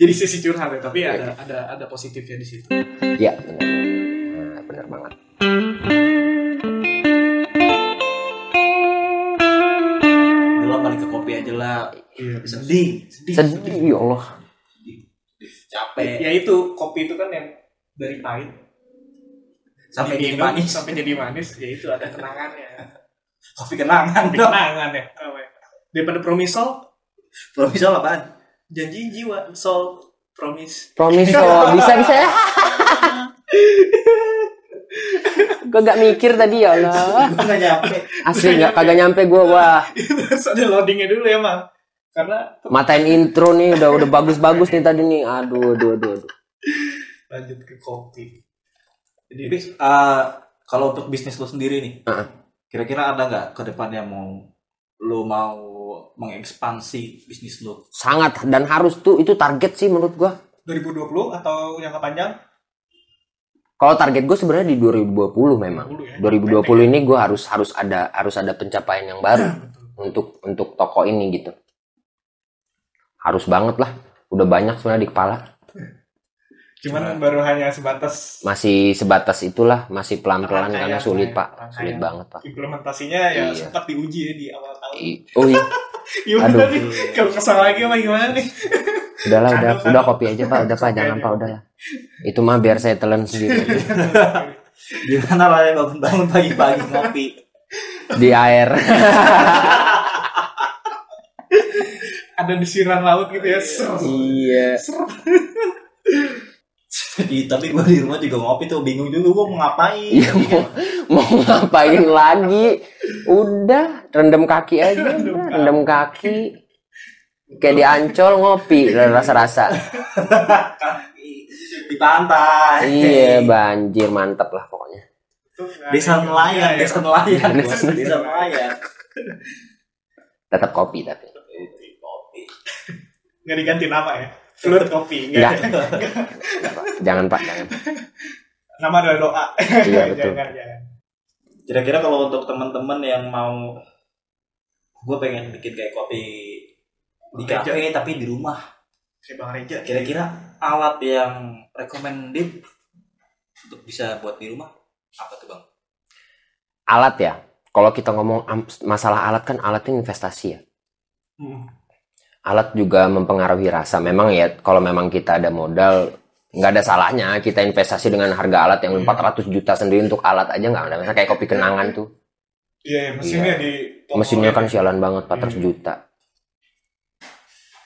Speaker 1: Jadi sisi curhat ya, tapi ada ada ada positifnya di situ.
Speaker 2: ya benar Nah, benar banget
Speaker 3: Udah lah, balik ke kopi aja lah.
Speaker 1: Iya.
Speaker 3: Sedih, sedih.
Speaker 2: sedih ya Allah
Speaker 3: Capek.
Speaker 1: Ya itu kopi itu kan yang dari pahit
Speaker 3: Sampai jadi
Speaker 1: diminum,
Speaker 3: manis.
Speaker 1: sampai jadi manis, ya itu ada kenangannya.
Speaker 3: Kopi kenangan
Speaker 1: Tapi
Speaker 3: dong.
Speaker 1: kenangan ya. apa ya. Daripada promisol,
Speaker 3: Belum bisa lah, Ban.
Speaker 1: janji jiwa, sol, promise.
Speaker 2: promise kok bisa bisa ya gue gak mikir tadi ya Allah
Speaker 3: Enggak nyampe.
Speaker 2: asli nggak kagak nyampe gue wah
Speaker 1: Terus ada loadingnya dulu ya, Mang. Karena
Speaker 2: matain intro nih udah udah bagus-bagus nih tadi nih aduh aduh aduh, aduh.
Speaker 1: lanjut ke kopi.
Speaker 3: Jadi
Speaker 1: Jadi
Speaker 3: eh, kalau untuk bisnis lo sendiri nih,
Speaker 2: Heeh.
Speaker 3: kira-kira ada nggak ke depannya mau lo mau mengekspansi bisnis lo?
Speaker 2: sangat dan harus tuh itu target sih menurut gua
Speaker 1: 2020 atau yang panjang?
Speaker 2: kalau target gue sebenarnya di 2020 memang
Speaker 1: 20 ya.
Speaker 2: 2020 ini kan gua harus harus ada harus ada pencapaian yang baru untuk untuk toko ini gitu harus banget lah udah banyak sebenarnya di kepala
Speaker 1: Cuman baru hanya sebatas
Speaker 2: masih sebatas itulah masih pelan-pelan
Speaker 1: Rangkaian,
Speaker 2: karena sulit
Speaker 1: ya.
Speaker 2: pak sulit
Speaker 1: Rangkaian.
Speaker 2: banget pak
Speaker 1: implementasinya ya
Speaker 2: Iya.
Speaker 1: sempat diuji ya di awal tahun.
Speaker 2: I- oh iya
Speaker 1: Gimana
Speaker 2: Aduh.
Speaker 1: nih? Kalau kesal lagi apa gimana nih?
Speaker 2: udahlah udah
Speaker 1: Kado, kado.
Speaker 2: udah kopi aja pak udah pak
Speaker 1: Kopi
Speaker 2: jangan
Speaker 1: aja.
Speaker 2: pak udahlah itu mah biar saya telan sendiri
Speaker 3: Gimana lah ya, bangun-bangun pagi-pagi ngopi?
Speaker 2: di air
Speaker 1: ada desiran laut gitu ya. Ser.
Speaker 2: Iya.
Speaker 3: Ih, tapi gue di rumah juga ngopi tuh bingung juga gue mau ngapain
Speaker 2: Iya, mau, mau ngapain lagi? Udah, rendam kaki aja. udah.
Speaker 1: Rendam kaki.
Speaker 2: rendam kaki. Kayak di Ancol ngopi, rasa-rasa.
Speaker 3: di pantai
Speaker 2: Iya, banjir mantep lah pokoknya.
Speaker 1: Tuh, nggak
Speaker 3: desa
Speaker 1: ada.
Speaker 3: nelayan
Speaker 1: Iya,
Speaker 3: desa nelayan
Speaker 2: Iya,
Speaker 3: bos.
Speaker 2: iya.
Speaker 3: desa nelayan
Speaker 2: Tetap kopi tapi.
Speaker 1: Nggak diganti nama ya. Flut kopi. Nggak.
Speaker 2: Nggak. Jangan Pak, jangan.
Speaker 1: Nama adalah doa.
Speaker 2: Iya, betul.
Speaker 1: jangan, jangan.
Speaker 3: kira-kira kalau untuk teman-teman yang mau gue pengen bikin kayak kopi di kafe tapi di rumah
Speaker 1: Kayak Bang Reja.
Speaker 3: kira-kira alat yang recommended untuk bisa buat di rumah apa tuh bang
Speaker 2: Alat ya. Kalau kita ngomong am- masalah alat kan alat itu investasi ya.
Speaker 1: Hmm.
Speaker 2: alat juga mempengaruhi rasa. Memang ya, kalau memang kita ada modal, nggak ada salahnya kita investasi dengan harga alat
Speaker 1: Hmm.
Speaker 2: yang 400 juta sendiri untuk alat aja nggak ada. Misalnya kayak kopi kenangan tuh,
Speaker 1: Iya, iya, mesinnya di
Speaker 2: mesinnya kan sialan banget 400 juta.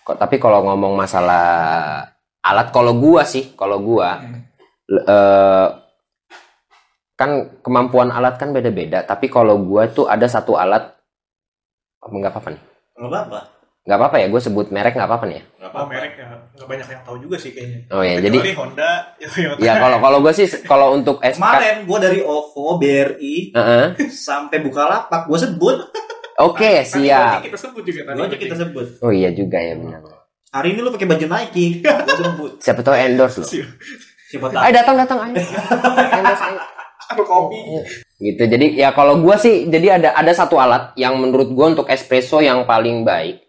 Speaker 2: Kok tapi kalau ngomong masalah alat, kalau gua sih, kalau gua
Speaker 1: Hmm.
Speaker 2: l- eh, kan kemampuan alat kan beda-beda. Tapi kalau gua tuh ada satu alat, nggak apa-apa nih,
Speaker 3: nggak apa-apa
Speaker 2: nggak apa-apa ya, gue sebut merek nggak apa-apa nih ya.
Speaker 3: nggak
Speaker 1: Oh, merek ya. Nggak banyak yang tahu juga sih kayaknya.
Speaker 2: Oh ya, jadi
Speaker 1: Kecuali Honda, Toyota.
Speaker 2: Ya kalau kalau gue sih kalau untuk SK
Speaker 3: kemarin gue dari OVO BRI
Speaker 2: Heeh.
Speaker 3: sampai Bukalapak gue sebut
Speaker 2: Oke,
Speaker 1: Tadi
Speaker 2: siap.
Speaker 1: Honda kita sebut juga tadi.
Speaker 3: gue aja kita sebut
Speaker 2: Oh iya juga ya benar.
Speaker 3: hari ini lu pakai baju Nike gue sebut
Speaker 2: Siapa tahu endorse loh.
Speaker 1: Siap.
Speaker 3: siapa tahu
Speaker 2: Ayo datang datang ayo. Endorse ayo.
Speaker 1: Aduh, kopi.
Speaker 2: Gitu. Jadi ya kalau gue sih jadi ada ada satu alat yang menurut gue untuk espresso yang paling baik.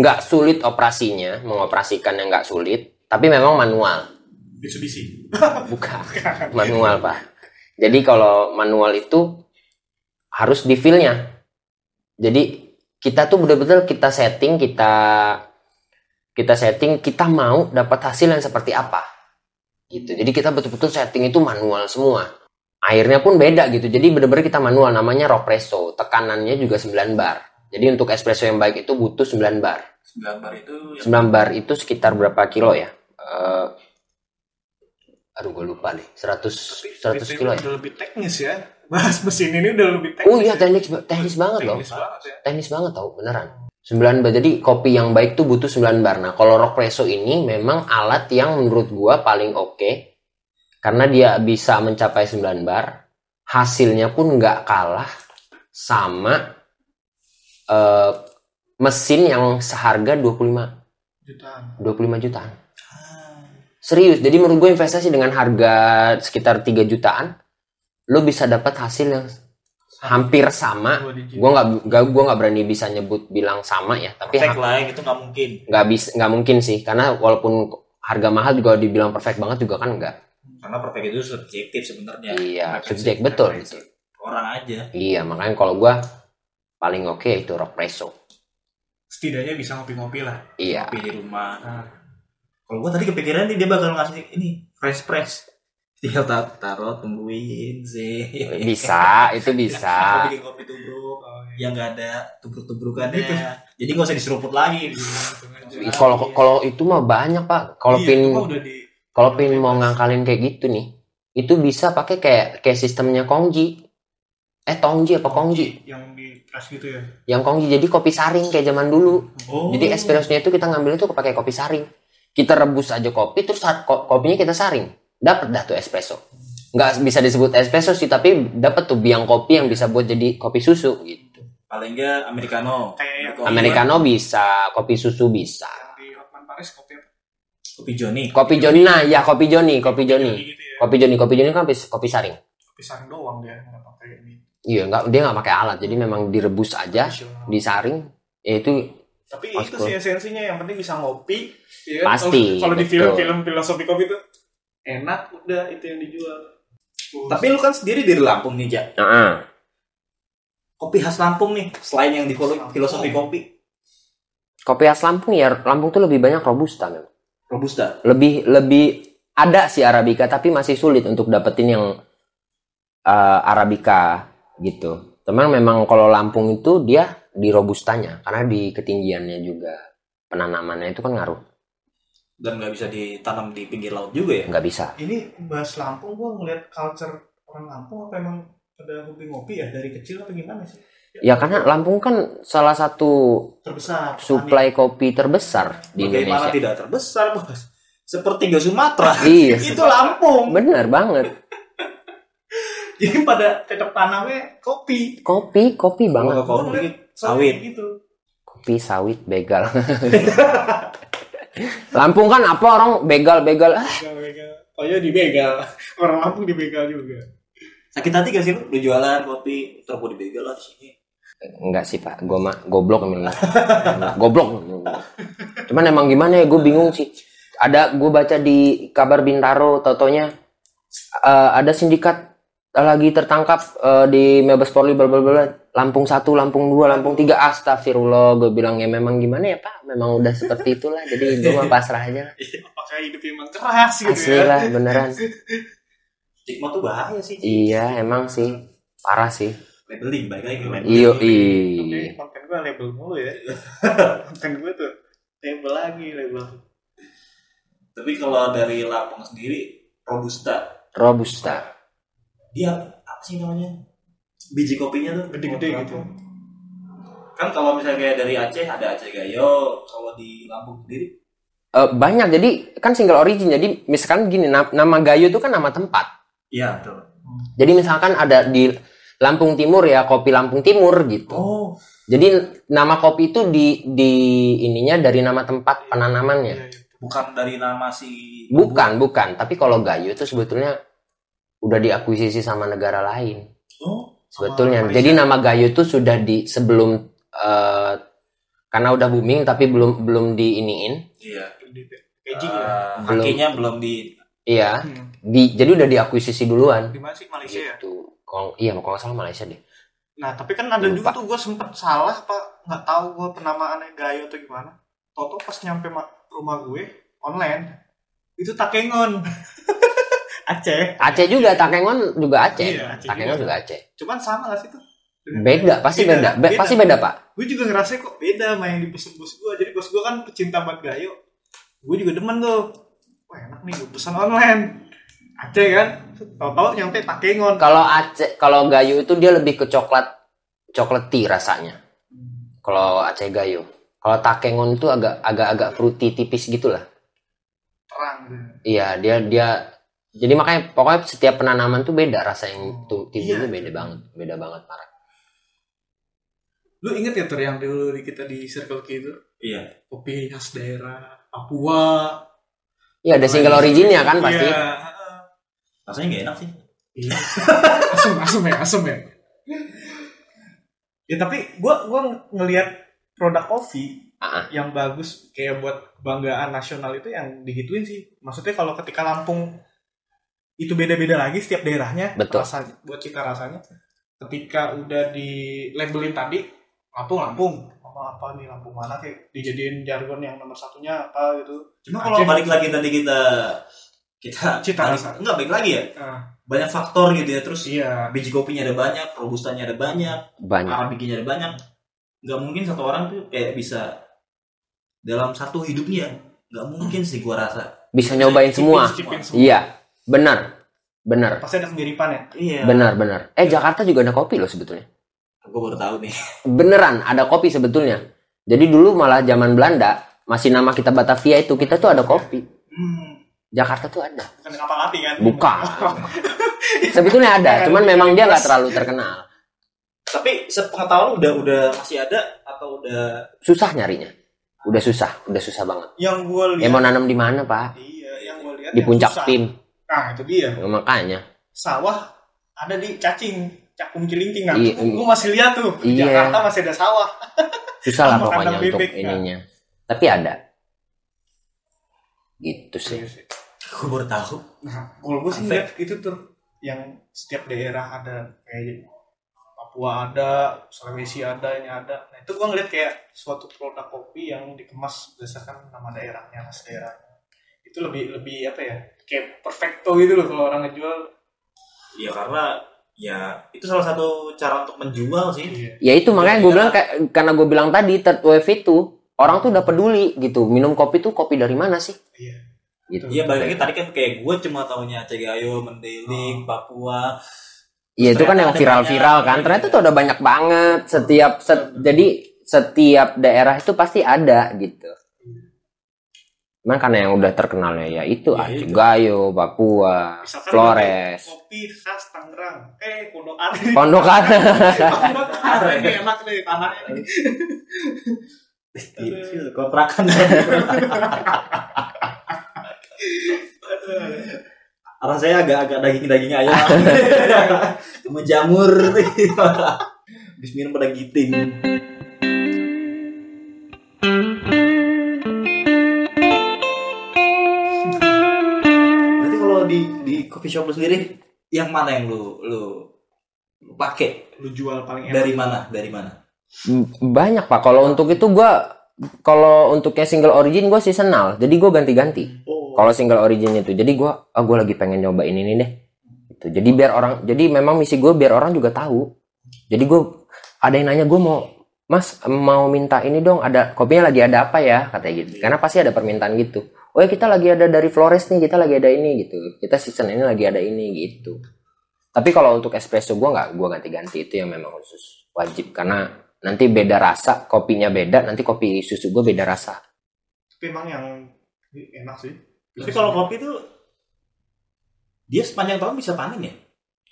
Speaker 2: Nggak sulit operasinya, mengoperasikan yang nggak sulit, tapi memang manual.
Speaker 1: Mitsubishi.
Speaker 2: Bukan. Manual, Pak. Jadi kalau manual itu harus di feel-nya. Jadi kita tuh bener-bener kita setting, kita kita setting, kita mau dapat hasil yang seperti apa. Gitu. Jadi kita betul-betul setting itu manual semua. Airnya pun beda gitu. Jadi bener-bener kita manual namanya ropresso. Tekanannya juga 9 bar. Jadi untuk espresso yang baik itu butuh 9 bar.
Speaker 3: gambar itu
Speaker 2: 9 bar itu sekitar berapa kilo ya? Eh, aduh gue lupa nih. 100 100 kilo ya.
Speaker 1: Udah lebih teknis ya. Bahas mesin ini udah lebih teknis.
Speaker 2: Oh iya teknis teknis banget loh.
Speaker 1: Teknis banget ya.
Speaker 2: Teknis banget tau beneran. 9 bar. Jadi kopi yang baik tuh butuh 9 bar. Nah, kalau Rockpresso ini memang alat yang menurut gua paling oke karena dia bisa mencapai 9 bar. Hasilnya pun nggak kalah sama eh, mesin yang seharga 25
Speaker 1: Jutaan. Ah,
Speaker 2: 25 jutaan. Serius, jadi menurut gue investasi dengan harga sekitar 3 jutaan, lo bisa dapat hasil yang hampir sama.
Speaker 1: Dua digit.
Speaker 2: Gue nggak nggak- gua nggak berani bisa nyebut bilang sama ya, tapi
Speaker 3: perfect
Speaker 2: ha-
Speaker 3: lah itu nggak mungkin
Speaker 2: nggak bisa nggak mungkin sih, karena walaupun harga mahal juga dibilang perfect banget juga kan enggak.
Speaker 3: karena perfect itu subjektif sebenarnya
Speaker 2: iya,
Speaker 3: Preferensi-
Speaker 2: subjek betul
Speaker 3: preferensi
Speaker 2: gitu.
Speaker 3: orang aja
Speaker 2: Iya, makanya kalau gue paling oke itu rock preso.
Speaker 1: Setidaknya bisa ngopi-ngopi lah.
Speaker 2: Iya.
Speaker 3: pilih rumah
Speaker 1: Nah,
Speaker 3: kalau gua tadi kepikiran nih dia bakal ngasih ini fresh press tinggal tar- taruh tungguin sih
Speaker 1: Iya.
Speaker 2: Iya. Bisa, itu
Speaker 3: Aku
Speaker 2: bisa.
Speaker 3: bikin kopi tubruk yang nggak ada tubruk-tubrukannya jadi nggak usah diseruput lagi
Speaker 1: hitung aja.
Speaker 2: Kalau kalau itu mah banyak, Pak. Kalau
Speaker 1: Iya,
Speaker 2: pin
Speaker 1: itu mah udah di
Speaker 2: Kalau pin mau ngangkalin kayak gitu nih, itu bisa pakai kayak kayak sistemnya Kongji. Eh Tongji apa Kongji?
Speaker 1: yang di press gitu ya.
Speaker 2: Yang Kongji jadi kopi saring kayak zaman dulu.
Speaker 3: oh
Speaker 2: Jadi espressonya itu kita ngambil itu pakai kopi saring. Kita rebus aja kopi terus sa- ko- kopinya kita saring. Dapat dah tuh espresso. Nggak bisa disebut espresso sih tapi dapat tuh biang kopi yang bisa buat jadi kopi susu gitu.
Speaker 3: paling nggak americano
Speaker 1: Kayak yang-
Speaker 3: Kopi-
Speaker 2: Americano bisa, kopi susu bisa.
Speaker 1: Yang di Hotman Paris kopi apa?
Speaker 3: kopi Johnny
Speaker 2: Kopi Joni nah ya kopi Joni, kopi Joni.
Speaker 1: Gitu ya.
Speaker 2: Kopi Joni, kopi Joni kan kopi, kopi saring.
Speaker 1: Kopi saring doang dia nggak pakai ini.
Speaker 2: Iya, nggak dia nggak pakai alat, jadi memang direbus aja,
Speaker 1: Profesional.
Speaker 2: disaring, ya itu
Speaker 1: Tapi
Speaker 2: Pas
Speaker 1: itu
Speaker 2: Ya? gua-
Speaker 1: sih esensinya yang penting bisa ngopi. Ya. kan?
Speaker 2: Pasti,
Speaker 1: Kalau di
Speaker 2: betul.
Speaker 1: film-film filosofi kopi itu enak udah itu yang dijual.
Speaker 3: tapi lu kan sendiri dari Lampung nih ja
Speaker 2: Heeh.
Speaker 3: kopi khas Lampung nih selain yang di kol- filosofi kopi
Speaker 2: kopi khas Lampung ya, Lampung tuh lebih banyak robusta memang.
Speaker 3: robusta
Speaker 2: Lebih lebih ada sih arabica tapi masih sulit untuk dapetin yang eh, arabica gitu. Teman memang kalau Lampung itu dia di robustanya karena di ketinggiannya juga penanamannya itu kan ngaruh.
Speaker 3: dan nggak bisa ditanam di pinggir laut juga ya
Speaker 2: Nggak bisa.
Speaker 1: Ini bahas Lampung, gua ngeliat culture orang Lampung apa emang pada hobi ngopi ya dari kecil apa gimana sih?
Speaker 2: Ya karena Lampung kan salah satu
Speaker 1: terbesar.
Speaker 2: suplai kopi terbesar di Indonesia.
Speaker 3: bagaimana tidak terbesar bos seperti nggak Sumatera
Speaker 2: Iya,
Speaker 1: Itu Lampung.
Speaker 2: bener banget.
Speaker 1: Jadi pada tetap tanamnya kopi.
Speaker 2: Kopi, kopi banget.
Speaker 3: Kalau
Speaker 1: Gua
Speaker 3: kopi
Speaker 1: ngeliat soalnya
Speaker 3: sawit
Speaker 1: Gitu.
Speaker 2: Kopi, sawit, begal. Lampung kan apa orang begal-begal. Ah,
Speaker 1: Oh ya dibegal. Orang Lampung dibegal juga.
Speaker 3: sakit hati gak sih lu, lu jualan kopi terus gua dibegal lah di sini
Speaker 2: Enggak sih pak, gue mah goblok emang. goblok. Cuman emang gimana ya, gue bingung sih. Ada gue baca di kabar Bintaro, totonya ada sindikat lagi tertangkap eh, di Mabes Polri bla bla bla. Lampung satu, Lampung dua, Lampung tiga. Astagfirullah, gue bilang ya memang gimana ya pak, memang udah seperti itulah. Jadi gue mah pasrah aja. lah.
Speaker 1: Apakah hidupnya emang keras gitu
Speaker 2: Asli
Speaker 1: ya?
Speaker 2: lah, beneran.
Speaker 3: stigma tuh bahaya sih
Speaker 2: Iya, emang sih parah sih.
Speaker 3: labeling balik lagi ke labeling
Speaker 2: Iyo, iya.
Speaker 1: Oke,
Speaker 2: i.
Speaker 1: konten gue label mulu ya. konten gue tuh label lagi, label.
Speaker 3: tapi kalau dari Lampung sendiri robusta
Speaker 2: Robusta.
Speaker 3: dia apa sih namanya biji kopinya tuh
Speaker 1: Gede-gede gitu.
Speaker 3: kan kalau misalnya kayak dari Aceh ada Aceh Gayo kalau di Lampung sendiri
Speaker 2: Eh, banyak jadi kan single origin jadi misalkan gini na- nama Gayo itu kan nama tempat.
Speaker 3: iya betul
Speaker 2: Jadi misalkan ada di Lampung Timur ya kopi Lampung Timur gitu.
Speaker 3: oh
Speaker 2: Jadi nama kopi itu di di ininya dari nama tempat penanamannya.
Speaker 1: Iya, iya.
Speaker 3: bukan dari nama si
Speaker 2: Bukan, bukan. Tapi kalau Gayo itu sebetulnya udah diakuisisi sama negara lain.
Speaker 3: oh
Speaker 2: Sebetulnya. Jadi nama Gayo itu sudah di sebelum eh, karena udah booming tapi belum belum diiniin.
Speaker 3: iya
Speaker 1: Gede-gede. Beijing ya.
Speaker 3: Eh,
Speaker 2: Belum.
Speaker 3: kakinya belum di
Speaker 2: Iya.
Speaker 1: Hmm.
Speaker 2: Di, jadi udah diakuisisi duluan.
Speaker 1: Di mana sih Malaysia ya?
Speaker 2: Gitu. Kalau iya kalau nggak salah Malaysia deh.
Speaker 1: Nah, tapi kan ada juga
Speaker 2: Lupa.
Speaker 1: tuh gue sempet salah, Pak. Nggak tahu gue penamaannya Gayo atau gimana. Toto pas nyampe ma- rumah gue, online, itu Takengon. Aceh.
Speaker 2: Aceh juga Takengon juga Aceh.
Speaker 1: Iya, Aceh
Speaker 2: Takengon
Speaker 1: juga.
Speaker 2: juga Aceh.
Speaker 1: Cuman sama nggak sih tuh?
Speaker 2: Beda, pasti beda. Be- Pasti beda, Pak.
Speaker 1: Gue juga ngerasa kok beda sama yang dipesen bos gue. Jadi bos gue kan pecinta banget Gayo. Gue juga demen tuh. Wah enak nih, gue pesen online. Aceh kan. Tau-tau nyampe Takengon.
Speaker 2: Kalau Aceh, kalau Gayo itu dia lebih ke coklat coklati rasanya. Kalau Aceh Gayo. Kalau Takengon itu agak agak agak fruity tipis gitulah.
Speaker 1: Terang gitu.
Speaker 2: Iya, dia dia jadi makanya pokoknya setiap penanaman tuh beda rasa yang tu- timbul
Speaker 1: Iya.
Speaker 2: tuh beda banget, beda banget parah.
Speaker 1: Lu inget ya Tur yang dulu di- kita di Circle K itu?
Speaker 3: iya
Speaker 1: Kopi khas daerah Papua.
Speaker 2: Iya, ada single originnya kan pasti.
Speaker 1: Iya.
Speaker 3: rasanya nggak enak sih
Speaker 1: Iya. asem, asem ya, asem ya. Ya tapi gua gua ng- ngelihat produk kopi
Speaker 2: Ah.
Speaker 1: yang bagus kayak buat kebanggaan nasional itu yang digituin sih. Maksudnya kalau ketika Lampung itu beda-beda lagi setiap daerahnya
Speaker 2: Betul.
Speaker 1: rasanya buat cita rasanya. Ketika udah di labelin tadi Lampung Lampung sama apa nih Lampung mana kayak dijadiin jargon yang nomor satunya apa gitu.
Speaker 3: cuma kalau
Speaker 1: Aceh.
Speaker 3: balik lagi tadi kita kita
Speaker 1: Cita
Speaker 3: balik-
Speaker 1: rasa.
Speaker 3: enggak balik lagi ya
Speaker 1: Nah,
Speaker 3: banyak faktor gitu ya terus
Speaker 1: iya.
Speaker 3: biji kopinya ada banyak robustanya ada banyak
Speaker 2: Banyak.
Speaker 3: arabikanya ada Nah, banyak nggak mungkin satu orang tuh kayak bisa dalam satu hidupnya nggak mungkin sih gua rasa
Speaker 2: Bisa nyobain semua.
Speaker 1: Cicipin semua.
Speaker 2: Iya, benar. Benar.
Speaker 1: Pasti ada kemiripan ya.
Speaker 3: iya
Speaker 2: Benar, benar. Eh, Jakarta juga ada kopi loh sebetulnya.
Speaker 3: gua baru tahu nih
Speaker 2: Beneran ada kopi sebetulnya. Jadi dulu malah zaman Belanda masih nama kita Batavia itu kita tuh ada kopi.
Speaker 1: Hmm.
Speaker 2: Jakarta tuh ada.
Speaker 1: bukan kapal api kan?
Speaker 2: Bukan. Sebetulnya
Speaker 1: Iya.
Speaker 2: ada, cuman memang dia nggak terlalu terkenal.
Speaker 3: tapi sepengetahuan udah udah masih ada atau udah
Speaker 2: Susah nyarinya. Udah susah, udah susah banget.
Speaker 1: yang gue
Speaker 2: Ya
Speaker 1: lihat,
Speaker 2: mau nanam di mana, Pak?
Speaker 1: iya, yang gue lihat
Speaker 2: Di
Speaker 1: yang
Speaker 2: puncak
Speaker 1: susah.
Speaker 2: tim.
Speaker 1: Nah itu dia,
Speaker 2: Ya, Makanya.
Speaker 1: sawah ada di cacing, cakung cilincing kan?
Speaker 2: Iya.
Speaker 1: Gue masih lihat tuh, di
Speaker 2: Iya.
Speaker 1: Jakarta masih ada sawah.
Speaker 2: Susah lah
Speaker 1: Sama
Speaker 2: pokoknya
Speaker 1: kandang
Speaker 2: untuk
Speaker 1: bebek, ya.
Speaker 2: ininya. Tapi ada. Gitu sih.
Speaker 3: gua baru tahu
Speaker 1: Nah, kalau gue sih
Speaker 3: Sampai.
Speaker 1: lihat itu tuh yang setiap daerah ada kayak Papua ada, Sulawesi ada, ini ada. Nah itu gue ngeliat kayak suatu produk kopi yang dikemas berdasarkan nama daerahnya, khas daerahnya. Itu lebih lebih apa ya? Kayak perfecto gitu loh kalau orang ngejual
Speaker 3: ya karena ya itu salah satu cara untuk menjual sih
Speaker 1: Iya.
Speaker 2: Ya itu makanya gue bilang kayak karena gue bilang tadi third wave itu orang tuh udah peduli gitu. Minum kopi tuh kopi dari mana sih?
Speaker 1: Iya.
Speaker 2: Gitu.
Speaker 3: Iya balik lagi tadi kan kayak gue cuma taunya
Speaker 2: Oh.
Speaker 3: Cegayo, Mendeling, Papua.
Speaker 2: Iya itu kan
Speaker 3: Ternyata
Speaker 2: yang
Speaker 3: ada
Speaker 2: viral-viral
Speaker 3: banyak. Iya.
Speaker 2: kan. Ternyata tuh udah banyak banget setiap set- jadi setiap daerah itu pasti ada gitu. Cuman karena yang udah terkenalnya ya itu
Speaker 3: Ya,
Speaker 2: ah,
Speaker 3: itu.
Speaker 2: Cigayo, Papua,
Speaker 1: Misalkan
Speaker 2: Flores,
Speaker 1: kopi khas Tangerang eh Pondok Aren
Speaker 2: Pondokan.
Speaker 1: Pondok Aren ini enak nih tanahnya nih.
Speaker 3: Ih, Iya, Kontrakan. Arah saya agak-agak daging-daging ayam. Menjamur. Habis minum pada giting. Berarti kalau di di coffee shop lu sendiri yang mana yang lu lu lu pakai
Speaker 1: lu jual paling enak
Speaker 3: dari mana dari mana
Speaker 2: B- banyak pak kalau untuk itu gua kalau untuknya single origin gue seasonal jadi gue ganti-ganti
Speaker 1: oh
Speaker 2: kalau single origin itu jadi gua ah gue lagi pengen nyobain ini deh Gitu. jadi biar orang jadi memang misi gue biar orang juga tahu jadi gue ada yang nanya gue mau mas mau minta ini dong ada kopinya lagi ada apa ya katanya gitu karena pasti ada permintaan gitu oh ya kita lagi ada dari Flores nih kita lagi ada ini gitu kita season ini lagi ada ini gitu tapi kalau untuk espresso gue nggak gue ganti-ganti itu yang memang khusus wajib karena nanti beda rasa kopinya beda nanti kopi susu gue beda rasa
Speaker 1: tapi emang yang enak sih
Speaker 3: Tapi kalau kopi tuh dia sepanjang tahun bisa panen ya?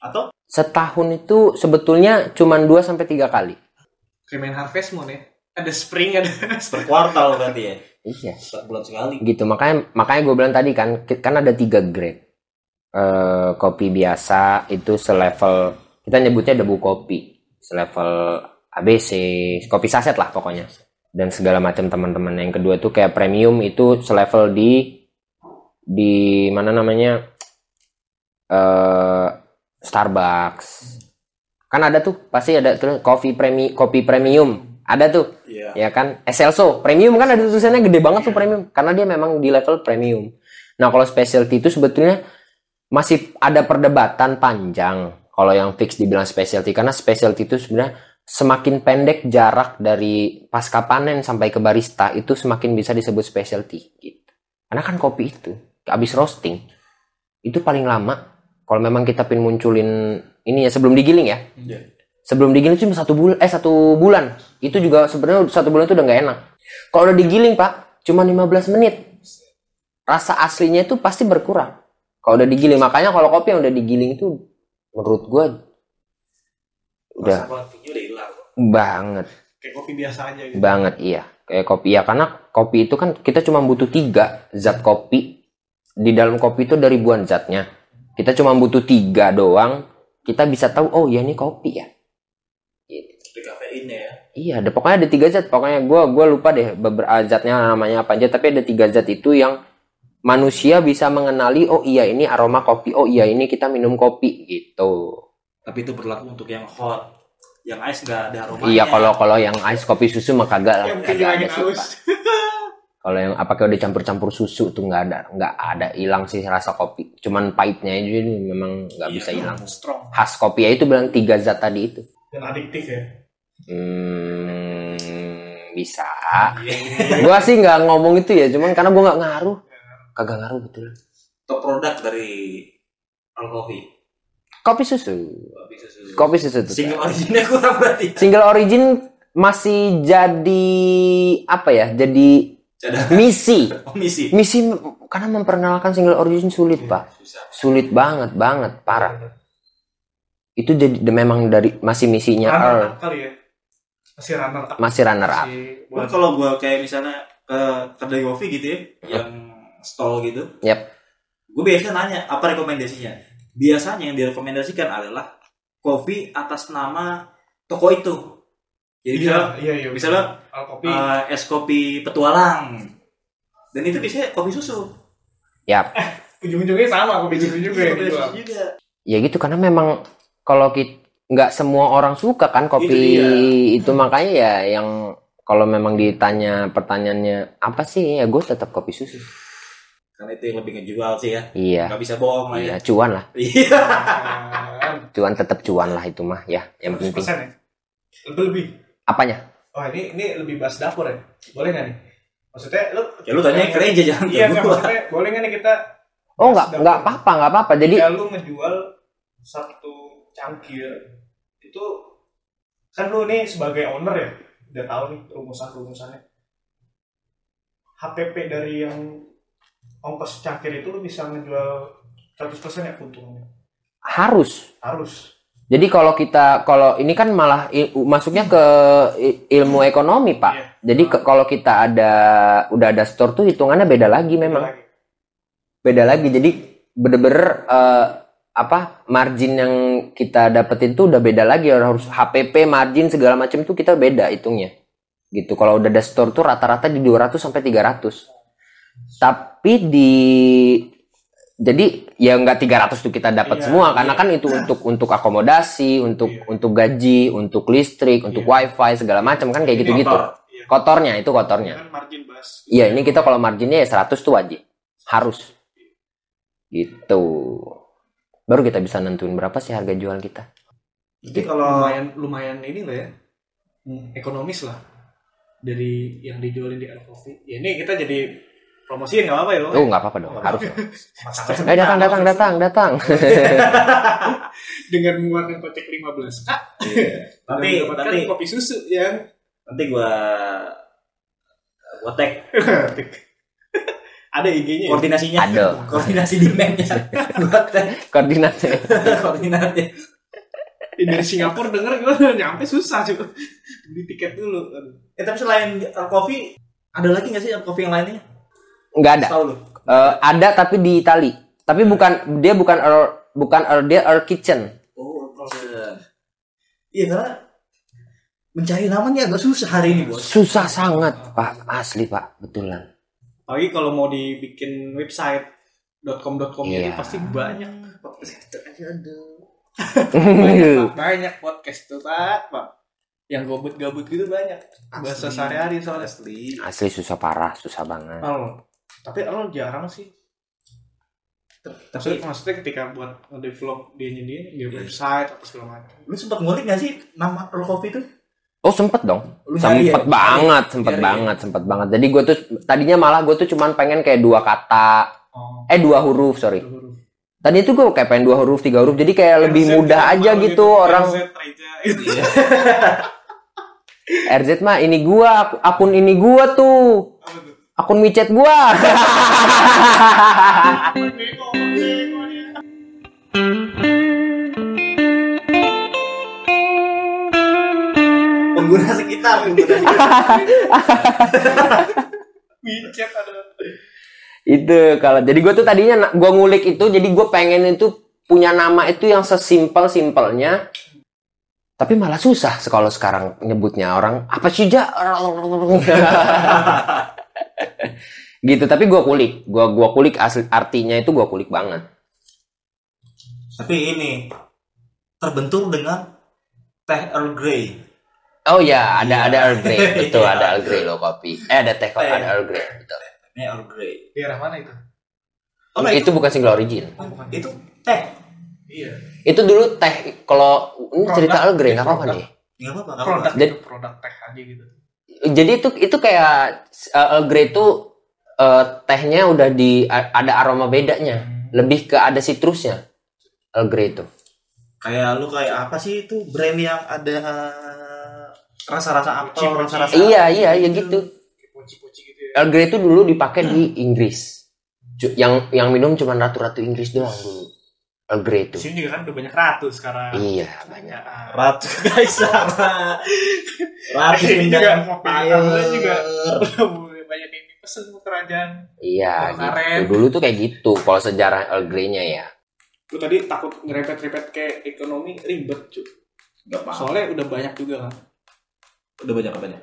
Speaker 3: Atau
Speaker 2: setahun itu sebetulnya cuman 2 sampai 3 kali.
Speaker 1: kayak main Harvest Moon ya ada spring ada
Speaker 3: per kuartal berarti ya?
Speaker 2: Iya.
Speaker 3: Setiap bulan sekali.
Speaker 2: Gitu makanya makanya gue bilang tadi kan ki- kan ada tiga grade. Eh, kopi biasa itu selevel kita nyebutnya debu kopi, selevel ABC, kopi saset lah pokoknya. Dan segala macam teman-teman. Yang kedua itu kayak premium itu selevel di di mana namanya eh Starbucks. Kan ada tuh pasti ada tuh kopi premi kopi premium. Ada tuh
Speaker 3: Iya.
Speaker 2: ya kan Excelso premium kan ada tulisannya gede banget tuh premium karena dia memang di level premium nah kalau specialty itu sebetulnya masih ada perdebatan panjang kalau yang fix dibilang specialty karena specialty itu sebenarnya semakin pendek jarak dari pasca panen sampai ke barista itu semakin bisa disebut specialty gitu karena kan kopi itu habis roasting itu paling lama kalau memang kita pin munculin ini ya sebelum digiling ya
Speaker 3: Hmm. Iya.
Speaker 2: sebelum digiling itu cuma satu bulan eh satu bulan itu juga sebenarnya satu bulan itu udah nggak enak kalau udah digiling pak cuma 15 menit rasa aslinya itu pasti berkurang kalau udah digiling makanya kalau kopi yang udah digiling itu menurut gua udah
Speaker 3: Rasa kopinya udah hilang.
Speaker 2: banget
Speaker 1: kayak kopi biasa aja gitu
Speaker 2: banget iya kayak kopi ya karena kopi itu kan kita cuma butuh tiga zat kopi di dalam kopi itu dari ribuan zatnya kita cuma butuh tiga doang kita bisa tahu oh ya ini kopi ya
Speaker 3: Tapi kafeinnya ya.
Speaker 2: Iya, ada pokoknya ada tiga zat. Pokoknya gua gua lupa deh beberapa zatnya namanya apa aja. Tapi ada tiga zat itu yang manusia bisa mengenali. Oh iya ini aroma kopi. Oh iya ini kita minum kopi gitu.
Speaker 3: Tapi itu berlaku untuk yang hot. Yang ice nggak ada aromanya.
Speaker 2: Iya kalau kalau yang ice kopi susu mah kagak lah.
Speaker 1: yang Iya, mungkin
Speaker 2: Kagak ada
Speaker 1: lagi
Speaker 2: sih, Pak.
Speaker 1: halus
Speaker 2: Kalau yang apakah udah campur-campur susu tuh nggak ada nggak ada hilang sih rasa kopi. Cuman pahitnya aja ini memang nggak
Speaker 3: Iya,
Speaker 2: bisa hilang.
Speaker 1: strong
Speaker 2: Khas kopi ya itu bilang tiga zat tadi itu.
Speaker 1: dan adiktif ya
Speaker 2: Hmm, bisa.
Speaker 3: Iya.
Speaker 2: gua sih nggak ngomong itu ya, cuman karena gua nggak ngaruh. Kagak ngaruh betul.
Speaker 3: Top produk dari Earl Coffee.
Speaker 2: Kopi susu.
Speaker 3: Kopi susu.
Speaker 2: Kopi susu itu.
Speaker 3: Single originnya kurang berarti.
Speaker 2: Single origin masih jadi apa ya? Jadi
Speaker 3: Cadangan
Speaker 2: misi.
Speaker 3: komisi.
Speaker 2: Misi karena memperkenalkan single origin sulit, Pak.
Speaker 3: Susah.
Speaker 2: Sulit banget, banget, parah. Itu jadi memang dari masih misinya Earl,
Speaker 1: runner up kali ya masih runner up
Speaker 2: masih Iya, runner up.
Speaker 1: masih
Speaker 3: Gua
Speaker 1: buat
Speaker 3: kalau gua kayak misalnya ke kedai kopi gitu
Speaker 1: Iya.
Speaker 3: ya, yang stall gitu.
Speaker 2: Yap.
Speaker 3: Gue biasanya nanya apa rekomendasinya. Biasanya yang direkomendasikan adalah kopi atas nama toko itu. Jadi misalnya,
Speaker 1: iya iya iya
Speaker 3: misalnya
Speaker 1: Al kopi
Speaker 3: eh, es kopi petualang. Dan itu biasanya kopi susu.
Speaker 1: ujung-ujungnya gitu. sama kopi susu juga
Speaker 3: Iya,
Speaker 1: yang
Speaker 3: kopi
Speaker 1: dijual
Speaker 3: susu juga.
Speaker 2: ya gitu karena memang kalau kita nggak semua orang suka kan kopi
Speaker 3: Itu dia. Hmm.
Speaker 2: itu makanya ya yang kalau memang ditanya pertanyaannya apa sih ya gue tetap kopi susu
Speaker 3: Karena itu yang lebih ngejual sih ya.
Speaker 2: Iya.
Speaker 3: Gak bisa bohong lah ya.
Speaker 2: Iya, cuan lah.
Speaker 3: Iya.
Speaker 2: Cuan tetap cuan lah itu mah ya, yang penting.
Speaker 1: persen ya lebih lebih
Speaker 2: Apanya?
Speaker 1: oh ini ini lebih bahas dapur ya boleh nggak nih maksudnya lu
Speaker 3: ya lu tanya ke aja jangan
Speaker 1: iya
Speaker 3: ke
Speaker 1: nggak,
Speaker 3: gua.
Speaker 1: maksudnya boleh nggak nih kita bahas
Speaker 2: Oh, nggak
Speaker 1: dapur?
Speaker 2: nggak apa-apa, nggak apa-apa. Jadi
Speaker 3: Iya.
Speaker 1: Jika lu ngejual satu cangkir itu kan lu nih sebagai owner ya udah tahu nih rumusan rumusannya HPP dari yang ongkos cangkir itu lu bisa ngejual 100% ya keuntungannya
Speaker 2: harus
Speaker 1: harus
Speaker 2: Jadi kalau kita kalau ini kan malah il- masuknya ke i- ilmu ekonomi pak.
Speaker 1: Iya.
Speaker 2: Jadi ke- kalau kita ada udah ada store tuh hitungannya beda lagi memang
Speaker 1: Lagi.
Speaker 2: beda lagi. Jadi bener-bener eh, apa margin yang kita dapetin tuh udah beda lagi harus HPP margin segala macam tuh kita beda hitungnya gitu. Kalau udah ada store tuh rata-rata di 200 sampai 300. Tapi di jadi ya nggak 300 tuh kita dapat
Speaker 1: Iya,
Speaker 2: semua karena
Speaker 1: iya.
Speaker 2: kan itu untuk untuk akomodasi, untuk untuk gaji, untuk listrik, untuk wifi segala macam kan kayak
Speaker 1: Ini
Speaker 2: gitu-gitu.
Speaker 3: kotor.
Speaker 1: Iya.
Speaker 2: Kotornya itu kotornya.
Speaker 1: kan margin bahas
Speaker 2: Iya, ini kita kalau marginnya ya 100 tuh wajib. Harus. Gitu. Baru kita bisa nentuin berapa sih harga jual kita.
Speaker 1: Jadi kalau lumayan lumayan ini lah ya. Hmm. Ekonomis lah. Dari yang dijualin di Alkofi. Ya ini kita jadi promosiin nggak apa-apa ya lo.
Speaker 2: Oh, nggak apa-apa dong, harus. dong.
Speaker 1: Masalah
Speaker 2: Eh, datang, datang, datang, datang.
Speaker 1: Dengan mengeluarkan kocek 15 kak.
Speaker 3: Iya.
Speaker 1: Ah, Tapi
Speaker 3: Tapi
Speaker 1: mendapatkan
Speaker 3: tapi
Speaker 1: kopi susu ya kan? yang
Speaker 3: nanti gua gua tag
Speaker 1: ada IG-nya. ya?
Speaker 3: koordinasinya.
Speaker 2: Aduh.
Speaker 3: Koordinasi demand-nya. Gua tag
Speaker 2: Koordinatnya.
Speaker 3: koordinatnya.
Speaker 1: Dari Singapura denger gimana nyampe susah sih. Beli tiket dulu. Aduh.
Speaker 3: Eh tapi selain Earl Coffee ada lagi nggak sih Earl Coffee yang lainnya?
Speaker 2: Nggak ada.
Speaker 3: Tahu lu.
Speaker 2: Eh, ada tapi di Itali. Tapi bukan dia bukan Earl- bukan Earl, dia Earl Kitchen.
Speaker 3: Oh, Iya karena mencari namanya agak susah hari ini bos.
Speaker 2: Susah sangat, Pak. Asli, Pak. Betulan.
Speaker 1: Apalagi kalau mau dibikin website .com.com itu
Speaker 2: Iya.
Speaker 1: gitu, pasti banyak banyak podcast tuh pak pak yang gabut-gabut gitu banyak bahasa sehari-hari soalnya
Speaker 3: Asli.
Speaker 2: Asli susah parah, susah banget.
Speaker 1: Al, Oh, tapi Al jarang sih. Tapi maksudnya ketika buat develop dia sendiri, dia website apa segala macam.
Speaker 3: Lu sempat ngulik gak sih nama Earl Coffee itu?
Speaker 2: Oh sempet dong,
Speaker 3: Lu nyari
Speaker 2: sempet
Speaker 3: ya?
Speaker 2: banget, sempet
Speaker 3: Nyari ya?
Speaker 2: banget, sempet banget. Jadi gue tuh tadinya malah gue tuh cuman pengen kayak dua kata,
Speaker 1: Oh,
Speaker 2: eh dua huruf sorry.
Speaker 1: huruf.
Speaker 2: Tadi itu gue kayak pengen dua huruf, tiga huruf. Jadi kayak
Speaker 1: RZ,
Speaker 2: lebih mudah
Speaker 1: Jamal
Speaker 2: aja gitu orang.
Speaker 1: RZ, Reja, gitu.
Speaker 2: RZ mah ini gua, aku- akun ini gua tuh,
Speaker 1: Apa tuh?
Speaker 2: akun micet gua.
Speaker 1: Bego, bego dia.
Speaker 3: Pengguna sekitar, pengguna sekitar.
Speaker 1: Micet ada.
Speaker 2: itu kalau jadi gue tuh tadinya na- gua ngulik itu jadi gue pengen itu punya nama itu yang sesimpel simpelnya tapi malah susah kalau sekarang nyebutnya orang apa sih ja gitu tapi gua kulik gua gua kulik asli artinya itu gua kulik banget
Speaker 3: Tapi ini terbentur dengan teh Earl Grey.
Speaker 2: oh ya ada
Speaker 3: Iya.
Speaker 2: ada Earl Grey betul
Speaker 3: Iya.
Speaker 2: ada Earl Grey loh kopi eh ada teh kopi
Speaker 3: Teh.
Speaker 2: ada Earl Grey betul
Speaker 3: Ini Earl Grey.
Speaker 1: Daerah mana itu?
Speaker 3: Oh, nah,
Speaker 2: itu,
Speaker 3: itu,
Speaker 2: bukan single origin
Speaker 3: itu eh, teh.
Speaker 1: Iya.
Speaker 2: itu dulu teh kalau ini cerita
Speaker 1: Produk.
Speaker 2: Earl Grey nggak apa-apa nih
Speaker 3: Gak apa-apa, gak apa-apa.
Speaker 1: Produk
Speaker 2: Jadi-
Speaker 1: itu produk teh aja gitu.
Speaker 2: jadi itu itu kayak uh, Earl Grey itu uh, tehnya udah di a- ada aroma bedanya lebih ke ada sitrusnya Earl Grey itu
Speaker 3: Kayak lu kayak apa sih itu brand yang ada eh, rasa-rasa apel,
Speaker 1: Mochi-mochi.
Speaker 3: rasa-rasa
Speaker 2: iya iya iya gitu Hmm.
Speaker 1: Kayak Poci-poci gitu ya.
Speaker 2: Earl Grey itu dulu dipakai di Inggris Ju- yang yang minum cuma ratu-ratu Inggris doang dulu Earl Grey
Speaker 1: Di
Speaker 2: itu
Speaker 1: sini juga kan udah banyak ratu sekarang.
Speaker 2: iya banyak
Speaker 1: Banyak. ah. Iya.
Speaker 3: Ratu Kaisara. Ratu
Speaker 1: Ini juga
Speaker 3: Pindahan
Speaker 1: kopi
Speaker 3: Empire.
Speaker 1: Earl juga. Iya. banyak yang pesen sama kerajaan.
Speaker 2: iya
Speaker 1: Warna
Speaker 2: gitu
Speaker 1: red.
Speaker 2: dulu tuh kayak gitu kalau sejarah Earl Grey-nya ya
Speaker 1: Lu tadi takut ngerepet-repet kayak ekonomi ribet cuy.
Speaker 3: Gak apa-apa.
Speaker 1: Soalnya udah banyak juga kan.
Speaker 3: Udah banyak apanya?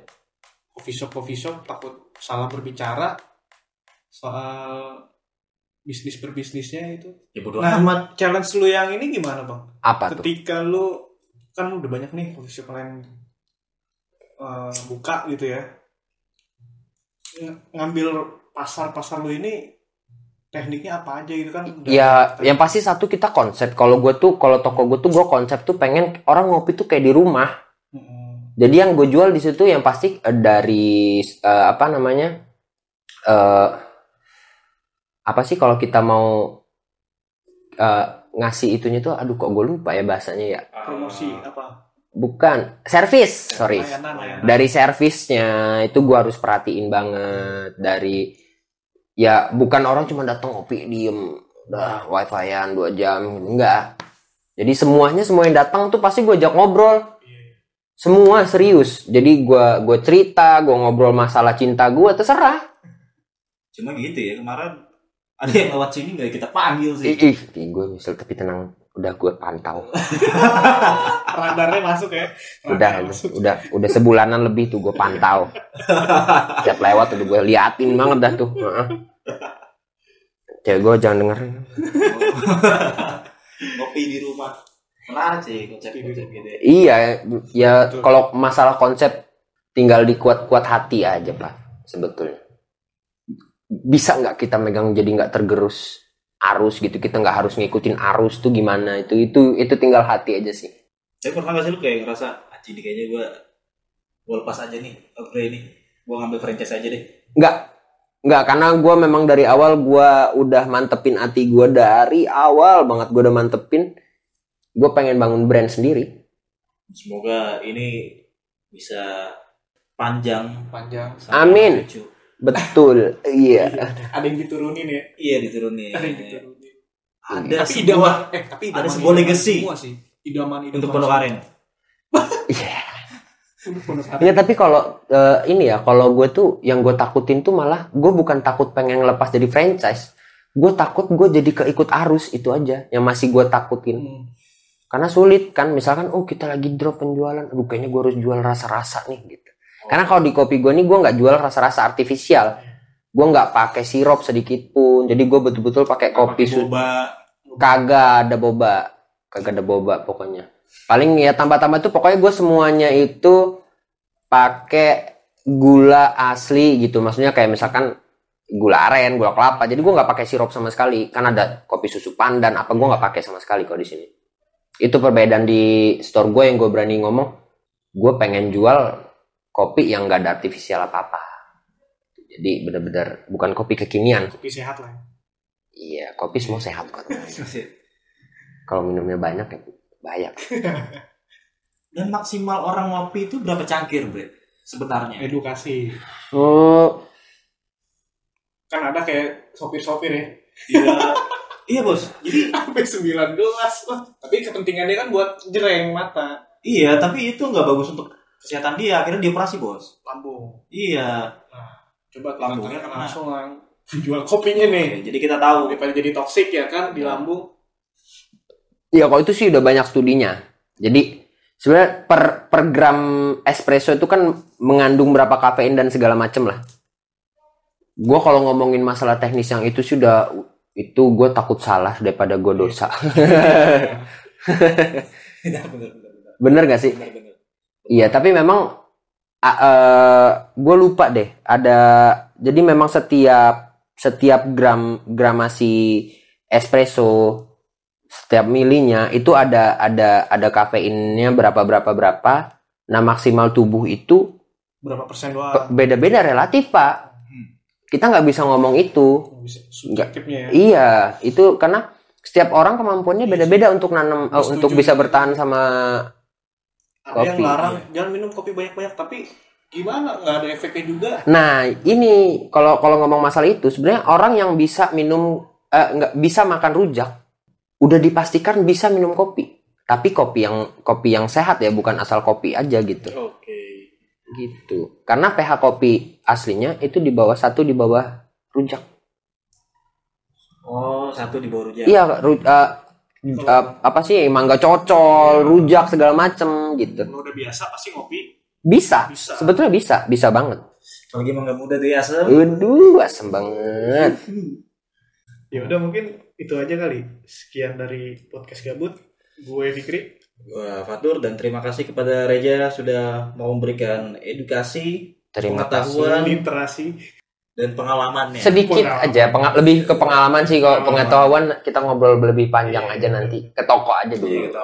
Speaker 1: Coffee shop coffee shop takut salah berbicara soal bisnis berbisnisnya itu.
Speaker 3: Ya bodo
Speaker 1: Nah,
Speaker 3: amat.
Speaker 1: challenge lu yang ini gimana bang?
Speaker 2: apa tuh
Speaker 1: Ketika lu kan udah banyak nih coffee shop lain eh, buka Ya, gitu ya. Ng- ngambil pasar pasar lu ini tekniknya apa aja gitu kan udah-
Speaker 2: Ya, yang pasti satu kita konsep. Kalau gue tuh, kalau toko gue tuh, gue konsep tuh pengen orang ngopi tuh kayak di rumah.
Speaker 1: Mm-mm.
Speaker 2: Jadi yang gue jual di situ yang pasti eh, dari eh, apa namanya? eh apa sih kalau kita mau eh, ngasih itunya tuh, aduh kok gue lupa ya bahasanya ya.
Speaker 1: promosi apa
Speaker 2: Bukan, service, sorry.
Speaker 1: layanan layanan
Speaker 2: Dari servisnya itu gue harus perhatiin banget. Dari ya bukan orang cuma datang ngopi diem, udah wifi-an dua jam, enggak. Jadi semuanya semua yang datang tuh pasti gue ajak ngobrol
Speaker 1: Iya.
Speaker 2: semua serius jadi gua gua cerita gua ngobrol masalah cinta gua terserah
Speaker 3: Cuma gitu ya kemarin ada yang lewat sini nggak kita panggil sih.
Speaker 2: ih ih ih, gua nyesel tapi tenang udah gua pantau
Speaker 1: radarnya masuk ya
Speaker 2: udah
Speaker 1: Radar masuk.
Speaker 2: udah udah sebulanan lebih tuh gua pantau setiap lewat udah gua liatin banget dah tuh Heeh. cewek gua jangan dengerin
Speaker 3: Ngopi di rumah. Menarik sih konsep-konsep gitu. ya.
Speaker 2: iya ya
Speaker 1: Betul.
Speaker 2: kalau masalah konsep tinggal dikuat-kuat hati aja lah sebetulnya bisa nggak kita megang jadi nggak tergerus arus gitu kita nggak harus ngikutin arus tuh gimana itu itu itu tinggal hati aja sih
Speaker 3: Tapi pernah gak sih lu kayak ngerasa anjing nih kayaknya gua gua lepas aja nih upgrade ini. Gua ngambil franchise aja deh.
Speaker 2: nggak nggak karena gua memang dari awal gua udah mantepin hati gua dari awal banget gua udah mantepin gue pengen bangun brand sendiri
Speaker 3: Semoga ini bisa panjang.
Speaker 1: panjang
Speaker 3: sampai
Speaker 2: Amin.
Speaker 3: lucu.
Speaker 2: betul iya
Speaker 1: ada yang diturunin ya
Speaker 3: Iya diturunin.
Speaker 1: ada yang diturunin
Speaker 3: Ada
Speaker 1: tapi
Speaker 3: sebuah
Speaker 1: idaman eh tapi
Speaker 3: ada
Speaker 1: idaman-
Speaker 3: sebuah
Speaker 1: idaman
Speaker 3: legacy.
Speaker 1: semua sih idaman idaman
Speaker 3: untuk Pondokaren.
Speaker 2: iya
Speaker 1: untuk Pondokaren.
Speaker 2: Ya tapi kalau eh, ini ya kalau gue tuh yang gue takutin tuh malah gue bukan takut pengen lepas dari franchise, gue takut gue jadi keikut arus itu aja yang masih gue takutin
Speaker 1: Hmm.
Speaker 2: karena sulit kan misalkan oh kita lagi drop penjualan, aduh kayaknya gue harus jual rasa-rasa nih gitu. Karena kalau di kopi gue nih gue nggak jual rasa-rasa artifisial, gue nggak pakai sirup sedikit pun, jadi gue betul-betul pakai kopi
Speaker 3: Pakai
Speaker 2: su-
Speaker 3: boba.
Speaker 2: kagak ada boba kagak ada boba pokoknya paling ya tambah-tambah tuh pokoknya gue semuanya itu pakai gula asli gitu maksudnya kayak misalkan gula aren gula kelapa jadi gue nggak pakai sirup sama sekali kan ada kopi susu pandan apa gue nggak pakai sama sekali kalau di sini itu perbedaan di store gue yang gue berani ngomong gue pengen jual kopi yang gak ada artifisial apa apa jadi bener-bener bukan kopi kekinian
Speaker 1: kopi sehat lah ya.
Speaker 2: iya kopi semua sehat kok
Speaker 3: Buset.
Speaker 2: kalau minumnya banyak ya bahaya
Speaker 3: Dan maksimal orang ngopi itu berapa cangkir, Bre? Sebenarnya.
Speaker 1: edukasi
Speaker 2: oh
Speaker 1: kan ada kayak sopir-sopir ya
Speaker 3: Iya. iya, Bos. Jadi
Speaker 1: sampai 19 lah tapi kepentingannya kan buat jereng mata
Speaker 3: iya, tapi itu nggak bagus untuk kesehatan dia. Akhirnya dioperasi, Bos.
Speaker 1: lambung
Speaker 3: Iya.
Speaker 1: coba kita
Speaker 3: Lambungnya
Speaker 1: tanya kan
Speaker 3: kena.
Speaker 1: langsung lang jual kopinya nih
Speaker 3: Oke, jadi kita tahu
Speaker 1: daripada jadi toksik ya kan di lambung
Speaker 2: iya kalau itu sih udah banyak studinya jadi sebenarnya per per gram espresso itu kan mengandung berapa kafein dan segala macem lah gue kalau ngomongin masalah teknis yang itu sih udah itu gue takut salah daripada gue dosa
Speaker 3: benar benar benar benar
Speaker 2: bener gak sih
Speaker 3: benar benar
Speaker 2: Iya, tapi memang gue lupa deh. Ada jadi memang setiap setiap gram gramasi espresso setiap milinya itu ada ada ada kafeinnya berapa berapa berapa. Nah maksimal tubuh itu
Speaker 1: berapa persen
Speaker 2: pe-
Speaker 1: doang
Speaker 2: beda-beda relatif pak. Kita nggak bisa ngomong itu.
Speaker 1: bisa subjektifnya ya
Speaker 2: Iya, itu karena setiap orang kemampuannya beda-beda untuk nanam eh,
Speaker 1: Setuju.
Speaker 2: untuk bisa bertahan sama
Speaker 1: ada yang
Speaker 2: kopi,
Speaker 1: larang jangan minum kopi banyak-banyak tapi gimana nggak ada efeknya juga
Speaker 2: Nah, ini kalau kalau ngomong masalah itu sebenarnya orang yang bisa minum eh, nggak bisa makan rujak udah dipastikan bisa minum kopi. Tapi kopi yang kopi yang sehat ya, bukan asal kopi aja gitu.
Speaker 1: oke
Speaker 2: Gitu. Karena pH kopi aslinya itu di bawah satu di bawah rujak.
Speaker 3: oh satu di bawah rujak
Speaker 2: Iya, ru- eh, eh, apa sih mangga cocol, rujak segala macem gitu.
Speaker 1: kalau udah biasa pasti ngopi
Speaker 2: Bisa.
Speaker 1: Bisa.
Speaker 2: Sebetulnya bisa, bisa banget.
Speaker 3: lagi emang nggak muda tuh
Speaker 2: Iya.
Speaker 3: ya asem
Speaker 2: Aduh, asem banget.
Speaker 1: ya udah mungkin itu aja kali sekian dari podcast gabut gue Fikri
Speaker 3: Wah, Fatur dan terima kasih kepada Reja sudah mau memberikan edukasi
Speaker 2: Terima kasih.
Speaker 3: pengetahuan
Speaker 1: literasi
Speaker 3: dan pengalamannya.
Speaker 2: sedikit
Speaker 1: Pengalaman.
Speaker 2: aja penga- lebih ke pengalaman sih kalau
Speaker 3: Pengalaman.
Speaker 2: pengetahuan kita ngobrol lebih panjang
Speaker 3: Iya.
Speaker 2: aja nanti ke toko aja
Speaker 3: Jadi
Speaker 2: dulu
Speaker 3: gitu.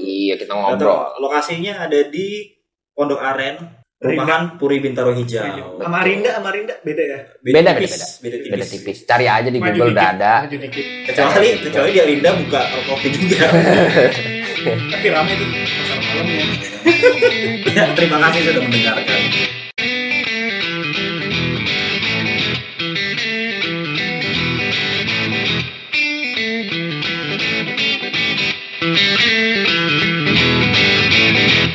Speaker 2: iya kita
Speaker 3: Atau
Speaker 2: ngobrol
Speaker 3: lokasinya ada di Pondok Aren, perumahan Puri Bintaro
Speaker 2: Ya
Speaker 3: Hijau.
Speaker 1: Sama Rinda, sama Rinda beda ya.
Speaker 2: Beda, beda,
Speaker 3: tipis, beda tipis.
Speaker 2: beda tipis cari aja di
Speaker 1: Maju
Speaker 2: Google udah
Speaker 1: dikit,
Speaker 2: ada
Speaker 1: Maju dikit.
Speaker 3: Kecuali kecuali di Arinda buka kopi juga.
Speaker 1: Tapi rame tuh pasar malam ya.
Speaker 3: ya, terima kasih sudah mendengarkan.